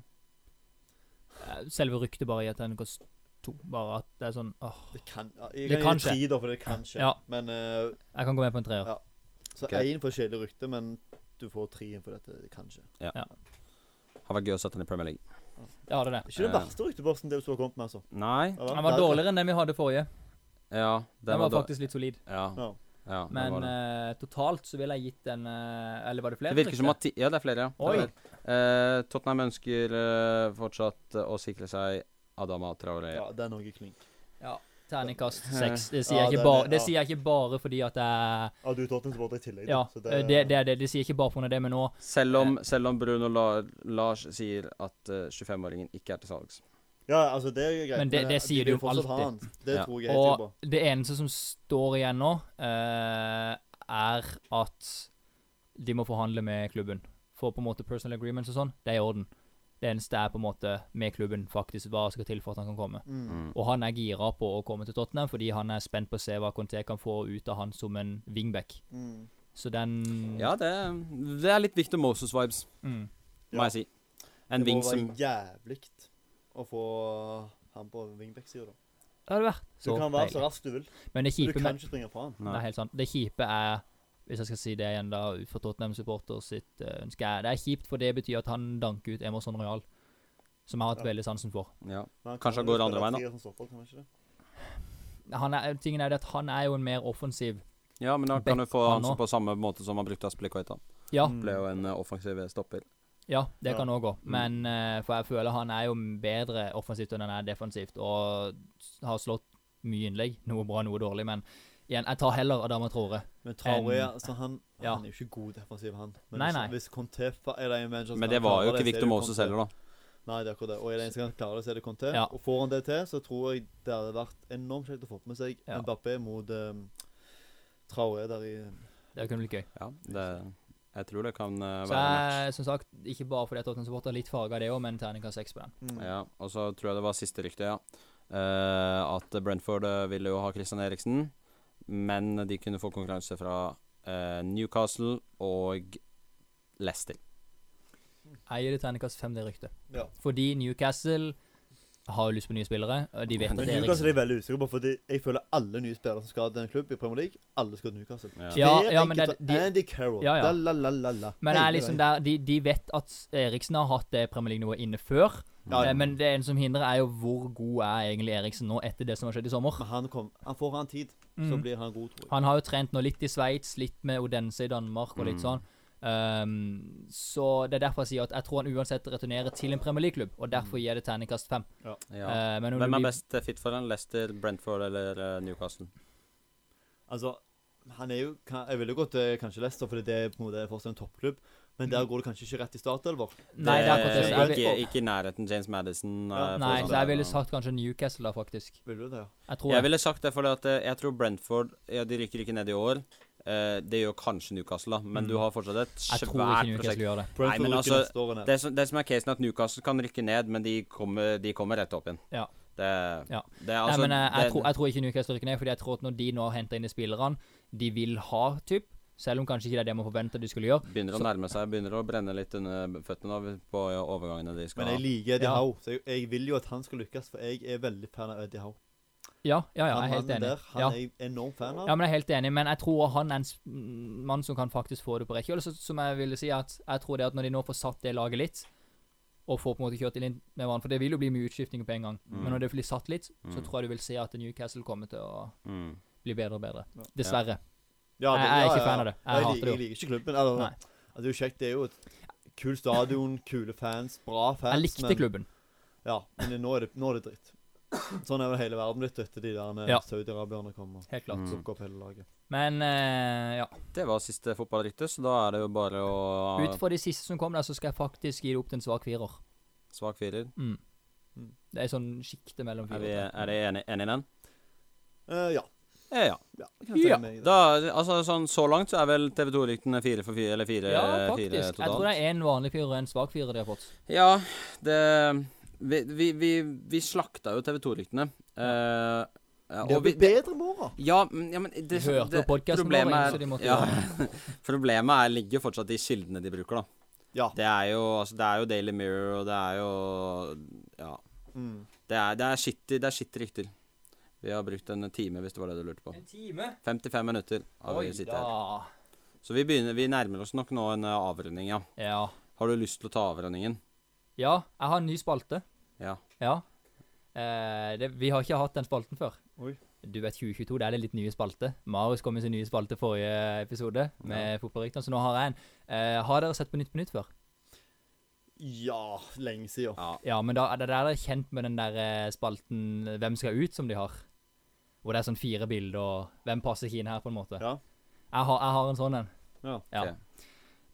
Eh, Selve ryktet bare gir terningkast to. Bare at det er sånn åh, Det kan ja, Jeg Det kan kan gi tre, da, for det kan skje. Ja. Men eh, Jeg kan gå med på en treer. Ja. Så Ok. én for kjedelig rykte, men du får tre inn for dette. Det kan skje. Har vært gøy å sette den i Premier League. Ja, det er det. Ikke den Eh. verste ryktebørsen det du har kommet med, altså. Nei. Ja, Den var det- dårligere enn den vi hadde forrige. Ja, det Den var da- faktisk litt solid. Ja. Ja. ja det Men var det. eh, totalt så ville jeg gitt den eh, Eller var det flere? det virker som rykter? at ti- Ja, det er flere, ja. Oi. Det er flere. Eh, Tottenham ønsker eh, fortsatt eh, å sikre seg Adama Traoré. Ja, den òg er klink. Ja. Terningkast seks. Det sier, Ja, jeg den ikke er- bare, det ja. sier jeg ikke bare fordi at jeg Ja, du er Tottenham-supporter i tillegg. da, Ja, så det, det, er det. Det sier jeg ikke bare pga. det, men nå Selv, om, selv om Bruno La Lars sier at eh, 25-åringen ikke er til salgs. Ja, altså, det er greit. Men det- de det vil sier du jo fortsatt ha alltid. han. Det Ja. tror jeg helt sikkert Og på. det eneste som står igjen nå, eh, er at de må forhandle med klubben. For på en måte personal agreements og sånn, det er i orden. Det eneste er på en måte med klubben faktisk hva skal til for at han kan komme. Mm. Og han er gira på å komme til Tottenham fordi han er spent på å se hva Conté kan få ut av han som en wingback. Mm. Så den Mm. Ja, det, det er litt Victor Moses-vibes, mm. må Ja. jeg si. En det ving må som være jævlig å få han på wingback-sida, da. Det hadde vært Du så kan være så deilig. rask du vil, Men det men du kjipe kan med ikke springe fra han. Det er Nei. helt sant. Det kjipe er, hvis jeg skal si det igjen da, ut fra Tottenham-supporter sitt eh, ønske, er det er kjipt, for det betyr at han danker ut Emerson Royal, som jeg har hatt Ja. veldig sansen for. Ja. Men han Kanskje han går andre veien, da. da. Han er, tingen er det at han er jo en mer offensiv ja, men da kan du få Beck, han han som også. på samme måte som han brukte Aspelikoita. Ja, Ble jo en eh, offensiv stopper. ja det Mm. Ja. Mm. kan òg gå, men eh, for jeg føler han er jo bedre offensivt enn han er defensivt, og s- har slått mye innlegg. Noe bra, noe dårlig, men igjen, jeg tar heller Adama Traore. Men Traoré altså, han, Ja. han er jo ikke god defensiv, han. Men Nei, hvis- nei. hvis Conte fa- er det en manager som Men kan det var klare jo ikke så er det Victor Moses Conte. heller, da. Nei, det er akkurat det. Og er det en som kan klare det, så er det Conte. Ja. Og får han det til, så tror jeg det hadde vært enormt kjekt å få med seg Ja. Mbappé mot um, Traoré der i Det kunne blitt gøy. Ja, det, jeg tror det kan eh, være en Så match. jeg, som sagt, ikke bare fordi jeg er Tottenham-supporter, litt farga det òg, men terningkast seks på den. mm. Ja, og så tror jeg det var siste rykte, ja. Eh, at Brentford eh, ville jo ha Christian Eriksen, men de kunne få konkurranse fra eh, Newcastle og Leicester. Jeg gir det terningkast fem, det ryktet. Ja. Fordi Newcastle har jo lyst på nye spillere. og De vet at Men det er liksom- Newcastle Eriksen. er veldig usikker på, fordi jeg føler alle nye spillere som skal til en klubb i Premier League, alle skal til Newcastle. Ja. Ja, ja, men enkelt, det er- de- Andy Carroll. Ja, ja. La, la, la, la, la. Men det er Hele liksom veien. der, de, de vet at Eriksen har hatt det Premier League-nivået inne før. Ja, Eh, Men det ene som hindrer, er jo hvor god er egentlig Eriksen nå etter det som har skjedd i sommer. Men han, kom, han får han tid, så Mm. blir han god, tror jeg. Han har jo trent nå litt i Sveits, litt med Odense i Danmark og litt Mm. sånn. Ehm, så det er derfor jeg sier at jeg tror han uansett returnerer til en Premier League-klubb. Og derfor gir jeg det terningkast fem. Mm. Ja. Eh, men om det Hvem er blir- best eh, fit for den? Leicester, Brentford eller eh, Newcastle? Altså, han er jo kan- Jeg ville gått til kanskje Leicester, fordi det er på en måte fortsatt en toppklubb. Men Mm. der går det kanskje ikke rett i startelver. Nei, det er akkurat det. Eh, så jeg vil- ikke, ikke i nærheten James Madison. Ja. eh, Nei, for så sånn. jeg ville sagt kanskje Newcastle, da, faktisk. Vil du det? ja? Jeg tror Jeg det. ville sagt det, for jeg tror Brentford ja, De rykker ikke ned i år. Eh, det gjør kanskje Newcastle, da, men Mm. du har fortsatt et Jeg tror ikke svært prosjekt. Newcastle gjør det. Brentford men rykker altså, neste år ned. Det som, det som er casen, er at Newcastle kan rykke ned, men de kommer, de kommer rett opp igjen. Ja. Det, Ja. det er altså Nei, men eh, jeg, det- jeg, tror, jeg tror ikke Newcastle rykker ned, fordi jeg tror at når de nå henter inn de spillerne de vil ha, typ, selv om kanskje ikke det er det man forventer de skulle gjøre Begynner å nærme seg, begynner å brenne litt under føttene da, på overgangene de skal Men jeg ha. liker Eddie Ja. Howe, så jeg, jeg vil jo at han skal lykkes, for jeg er veldig fan av Eddie Howe. Ja, ja, ja, jeg er han helt mannen enig. der, han ja. er jeg enormt fan av. ja, men jeg er helt enig, men jeg tror han er en s- mm, mann som kan faktisk få det på rekke. Og så- som jeg ville si, at jeg tror det at når de nå får satt det laget litt, og får på en måte kjørt det inn med hverandre, for det vil jo bli mye utskiftninger på en gang, Mm. men når det blir satt litt, så Mm. tror jeg du vil se at Newcastle kommer til å Mm. bli bedre og bedre. Ja. Dessverre. Ja, det- jeg, jeg er ja, ikke ja, fan av det. ja. Jeg Jeg, hater liker, det jeg jo. liker ikke klubben. Eller, Nei. altså, det er jo kjekt, det er jo et kul stadion, kule fans, bra fans. Jeg likte men- klubben. Ja, men det- nå er det, nå er det dritt. Sånn er vel hele verden blitt etter de der Ja. ja. saudi-arabierne kom og Helt klart. Mm. tok opp hele laget. Men eh, ja. Det var siste fotballrykte, så da er det jo bare å Ut fra de siste som kom der, så skal jeg faktisk gi det opp til en svak firer. Svak firer. Mm. Mm. Det er sånn sjikte mellom Er, fire vi, og tre. er det enig, enig i den? Eh, ja. Ja, ja. ja. Kan jeg Ja, si meg i det. Da, altså, sånn, så langt så er vel TV 2-ryktene fire for fire, eller fire, Ja, faktisk. eh, fire Jeg totalt. tror det er en vanlig firer og en svak firer de har fått. Ja, det Vi, vi, vi, vi slakta jo TV 2-ryktene. Eh, ja, Det og har vi blitt bedre med åra. ja, men- ja, men det, De hørte det- på podcasten vår, problemet så de måtte ja, Problemet er, ligger jo fortsatt i kildene de bruker, da. Ja. Det er jo, altså, det er jo Daily Mirror, og det er jo Ja. Mm. Det er, det er shitty det er shitty rykter. Vi har brukt en time, hvis det var det du lurte på. En time? 55 minutter har vi sittet her. da. Så vi, begynner, vi nærmer oss nok nå en eh, avrunding, ja. Ja. Har du lyst til å ta avrundingen? ja. Jeg har en ny spalte. Ja. Ja. Eh, det, vi har ikke hatt den spalten før. Oi. Du vet 2022, det er det litt nye spalte. Marius kom med sin nye spalte forrige episode med fotballryktene, så nå har jeg en. Eh, har dere sett på Nytt på Nytt før? ja, lenge siden. ja. Ja, men da er det der kjent med den der eh, spalten eh, Hvem skal ut, som de har. Hvor det er sånn fire bilder, og hvem passer ikke inn her, på en måte. Ja. Jeg, har, jeg har en sånn en. Ja. Ja. Ok.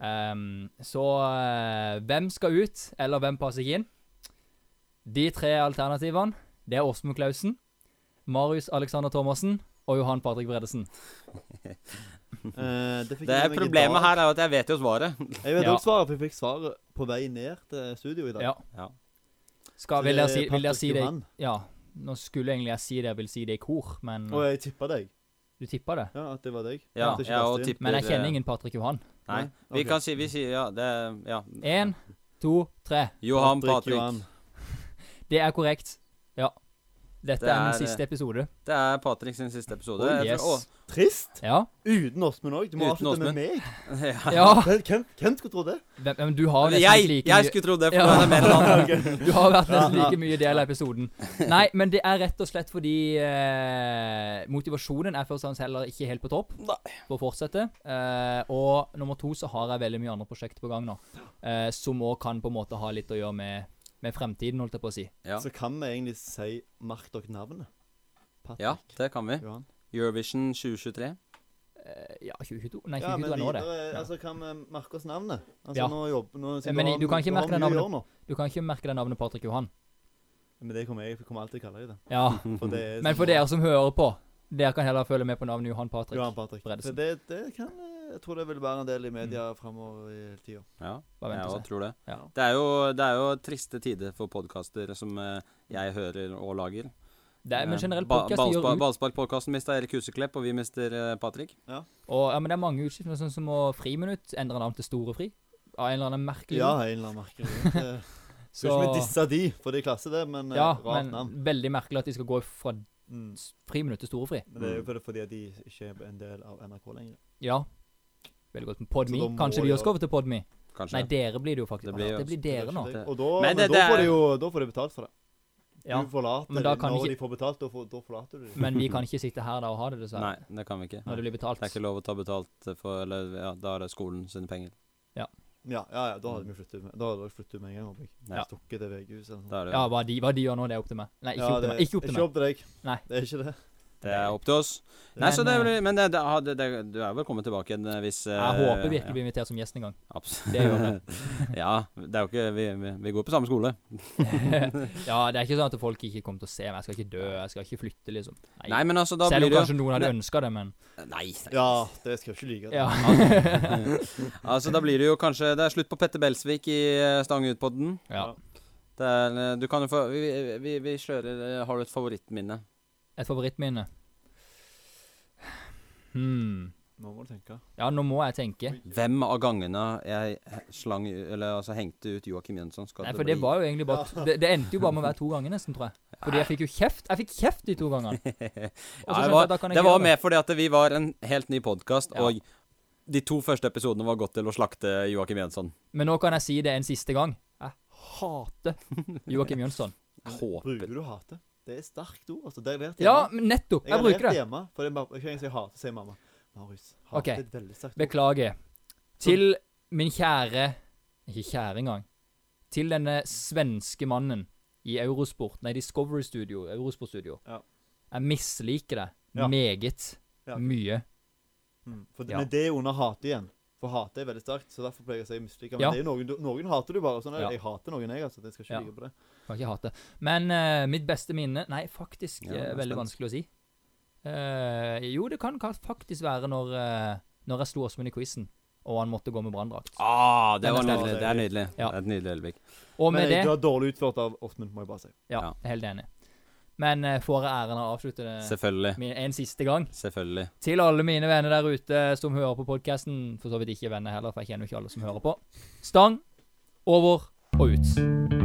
Ehm, så eh, hvem skal ut, eller hvem passer ikke inn? De tre alternativene, det er Åsmund Klausen, Marius Alexander Thomassen og Johan Patrick Bredesen. Eh, det fikk Det jeg er med meg i problemet dag. her er jo at jeg vet jo svaret. Jeg vet Ja. også svaret, for jeg fikk svaret på vei ned til studio i dag. Ja. Ja. Skal, vil jeg si, vil jeg si det Johan. Ja, nå skulle egentlig jeg si det jeg vil si det i kor, men Og jeg tippa deg. du tippa det. Ja, at det var deg. Ja, At det ikke jeg passet og inn. tipper Men jeg kjenner eh, ingen Patrick Johan. Nei. Nei? Vi Ok. kan si Vi sier ja. Det Ja. Én, to, tre. Johan Patrick. Johan. Det er korrekt. Ja. Dette Det er, er- eh, den siste episode. Det er Patrick sin siste episode. Oh, Jeg yes. tror- Trist. Ja. Uten Åsmund òg. Du må Uten avslutte Åsmund. med meg. å, ja. ja. Hvem, hvem, hvem skulle tro det? Hvem- Men du har jo nesten ikke Jeg, like jeg mye skulle trodd det, for Ja. det er mer enn han. Du har vært nesten Ja, ja. like mye del av episoden. Nei, men det er rett og slett fordi eh, motivasjonen er først og fremst heller ikke helt på topp for å fortsette. Eh, og nummer to så har jeg veldig mye andre prosjekter på gang nå, eh, som òg kan på en måte ha litt å gjøre med, med fremtiden, holdt jeg på å si. Eh, Ja. Så kan vi egentlig si Merk dere navnet. Patrick. ja, det kan vi. Johan. Eurovision 2023. Eh, ja, 2022? Nei, Ja, 2022 men er nå, det. videre, Ja. altså kan vi merke oss navnet? Altså Ja. nå jobber nå, siden Men har- du kan ikke har merke deg mye å navnet. gjøre nå. Du kan ikke merke deg navnet Patrick Johan. Men det kommer jeg, jeg kommer alltid til å kalle deg det. Ja, For det er Men for dere som hører på, dere kan heller følge med på navnet Johan Patrick. Mm. Johan Patrick. Bredesen. For det, det kan eh, Jeg tror det vil være en del i media fremover i hele tida. Ja, Hva jeg venter også seg? tror det. Ja. Det er jo, det er jo triste tider for podkaster som eh, jeg hører og lager. Det er, men Eh, generelt ba- podcast gjør ballspa- ut Ballsparkpodkasten mista Erik Huseklepp, og vi mister eh, Patrick. og, ja, men Det er mange utskiftninger, sånn som å Friminutt endre navn til Store Fri. Av en eller annen merkelig Ja, grunn. en eller annen merker. det. Skal Så- ikke vi disse de, for det er klasse, det, men eh, ja, rart men navn. veldig merkelig at de skal gå fra Mm. s- Friminutt til Storefri. Men det er jo fordi- fordi at de ikke er en del av NRK lenger. Ja. Veldig godt. Men Podme. Så da må Kanskje de de også da- skal over til Podme? Kanskje. Nei, dere blir det jo faktisk. Det Det blir jo- blir, det blir Det er dere ikke nå. det. Og da, Men men det- da, det er- får de jo, da får de betalt for det. Ja. Du forlater Men da de kan når ikke- de får betalt, da, får, da forlater du dem. Men vi kan ikke sitte her da og ha det, dessverre. Nei, det kan vi ikke. Når det blir betalt. Det er ikke lov å ta betalt for Eller ja, da er det skolen sine penger. Ja, ja, ja, da hadde vi flyttet med, da hadde dere flyttet med en gang. håper jeg. Mm. Ja. Stukket til VG-huset. eller noe sånt. Da er det, Ja, hva de, hva de gjør nå, det er opp til meg. Nei, ikke Ja, opp til det- meg. Ikke opp til meg. Ikke opp til deg. Nei. Det er ikke det. det er opp til oss. Nei, Men, så det er, eh, vel- men det, det, har- det, det, du er velkommen tilbake igjen eh, hvis eh, Jeg håper virkelig å ja, bli invitert som gjest en gang. Absolutt. Det gjør ja, det er jo ikke vi, vi, vi går på samme skole. ja, det er ikke sånn at folk ikke kommer til å se meg. Jeg skal ikke dø, jeg skal ikke flytte, liksom. Nei. Nei, men altså, da Selv blir det om jo kanskje noen hadde ønska det, men Nei. Ja, det skal jeg ikke like. ja. Altså, da blir det jo kanskje Det er slutt på Petter Belsvik i eh, Stang Ut-podden. ja. Det er, eh, Du kan jo få Vi, vi, vi kjører eh, Har du et favorittminne? Et favorittminne. Hmm. Nå må du tenke. Ja, nå må jeg tenke. Hvem av gangene jeg slang Eller altså hengte ut Joakim Jønsson, skal Nei, for det var jo egentlig bare det, det endte jo bare med å være to ganger, nesten, tror jeg. Fordi jeg fikk jo kjeft. Jeg fikk kjeft de to gangene. Og så Ja, skjønte det var, jeg altså, sånn at da kan jeg det ikke var gjøre med fordi at vi var en helt ny podkast, Ja. og de to første episodene var godt til å slakte Joakim Jønsson. Men nå kan jeg si det en siste gang. Jeg hater Joakim Jønsson. Jeg håper Bruker du hate? Det er sterkt ord. altså. Det har jeg lært hjemme. Ja, men nettopp. jeg har Jeg bruker lært det. hjemme. For det er bare, jeg kan ikke si hate, sier mamma. Marius, hate Ok. er et veldig sterkt ord. Beklager. Til min kjære Ikke kjære engang. Til denne svenske mannen i Eurosport Nei, Discovery Studio. Eurosport Studio. Ja. Jeg misliker det Ja. meget Ja. mye. Mm. For, Ja. Men det er jo under hate igjen. For hate er veldig sterkt, så derfor pleier jeg å si mislike. Men Ja. det er jo noen, du- noen hater du bare. Sånn, er det. Ja. Jeg hater noen, jeg, altså. Jeg skal ikke Ja. ligge på det. Kan ikke hate. Men eh, mitt beste minne Nei, faktisk Ja, eh, jeg er veldig spent. vanskelig å si. Eh, jo, det kan ka- faktisk være når, eh, når jeg slo Åsmund i quizen, og han måtte gå med branndrakt. Ah, det Den var er nydelig. sterk. Det er nydelig. Ja. Det er et nydelig øyeblikk. Og Men med det det var dårlig utført av Åsmund, må jeg bare si. Ja, Ja. jeg er helt enig. Men eh, får jeg æren av å avslutte det Selvfølgelig. min, en siste gang? Selvfølgelig. Til alle mine venner der ute som hører på podkasten. For så vidt ikke venner heller, for jeg kjenner jo ikke alle som hører på. Stang over og ut.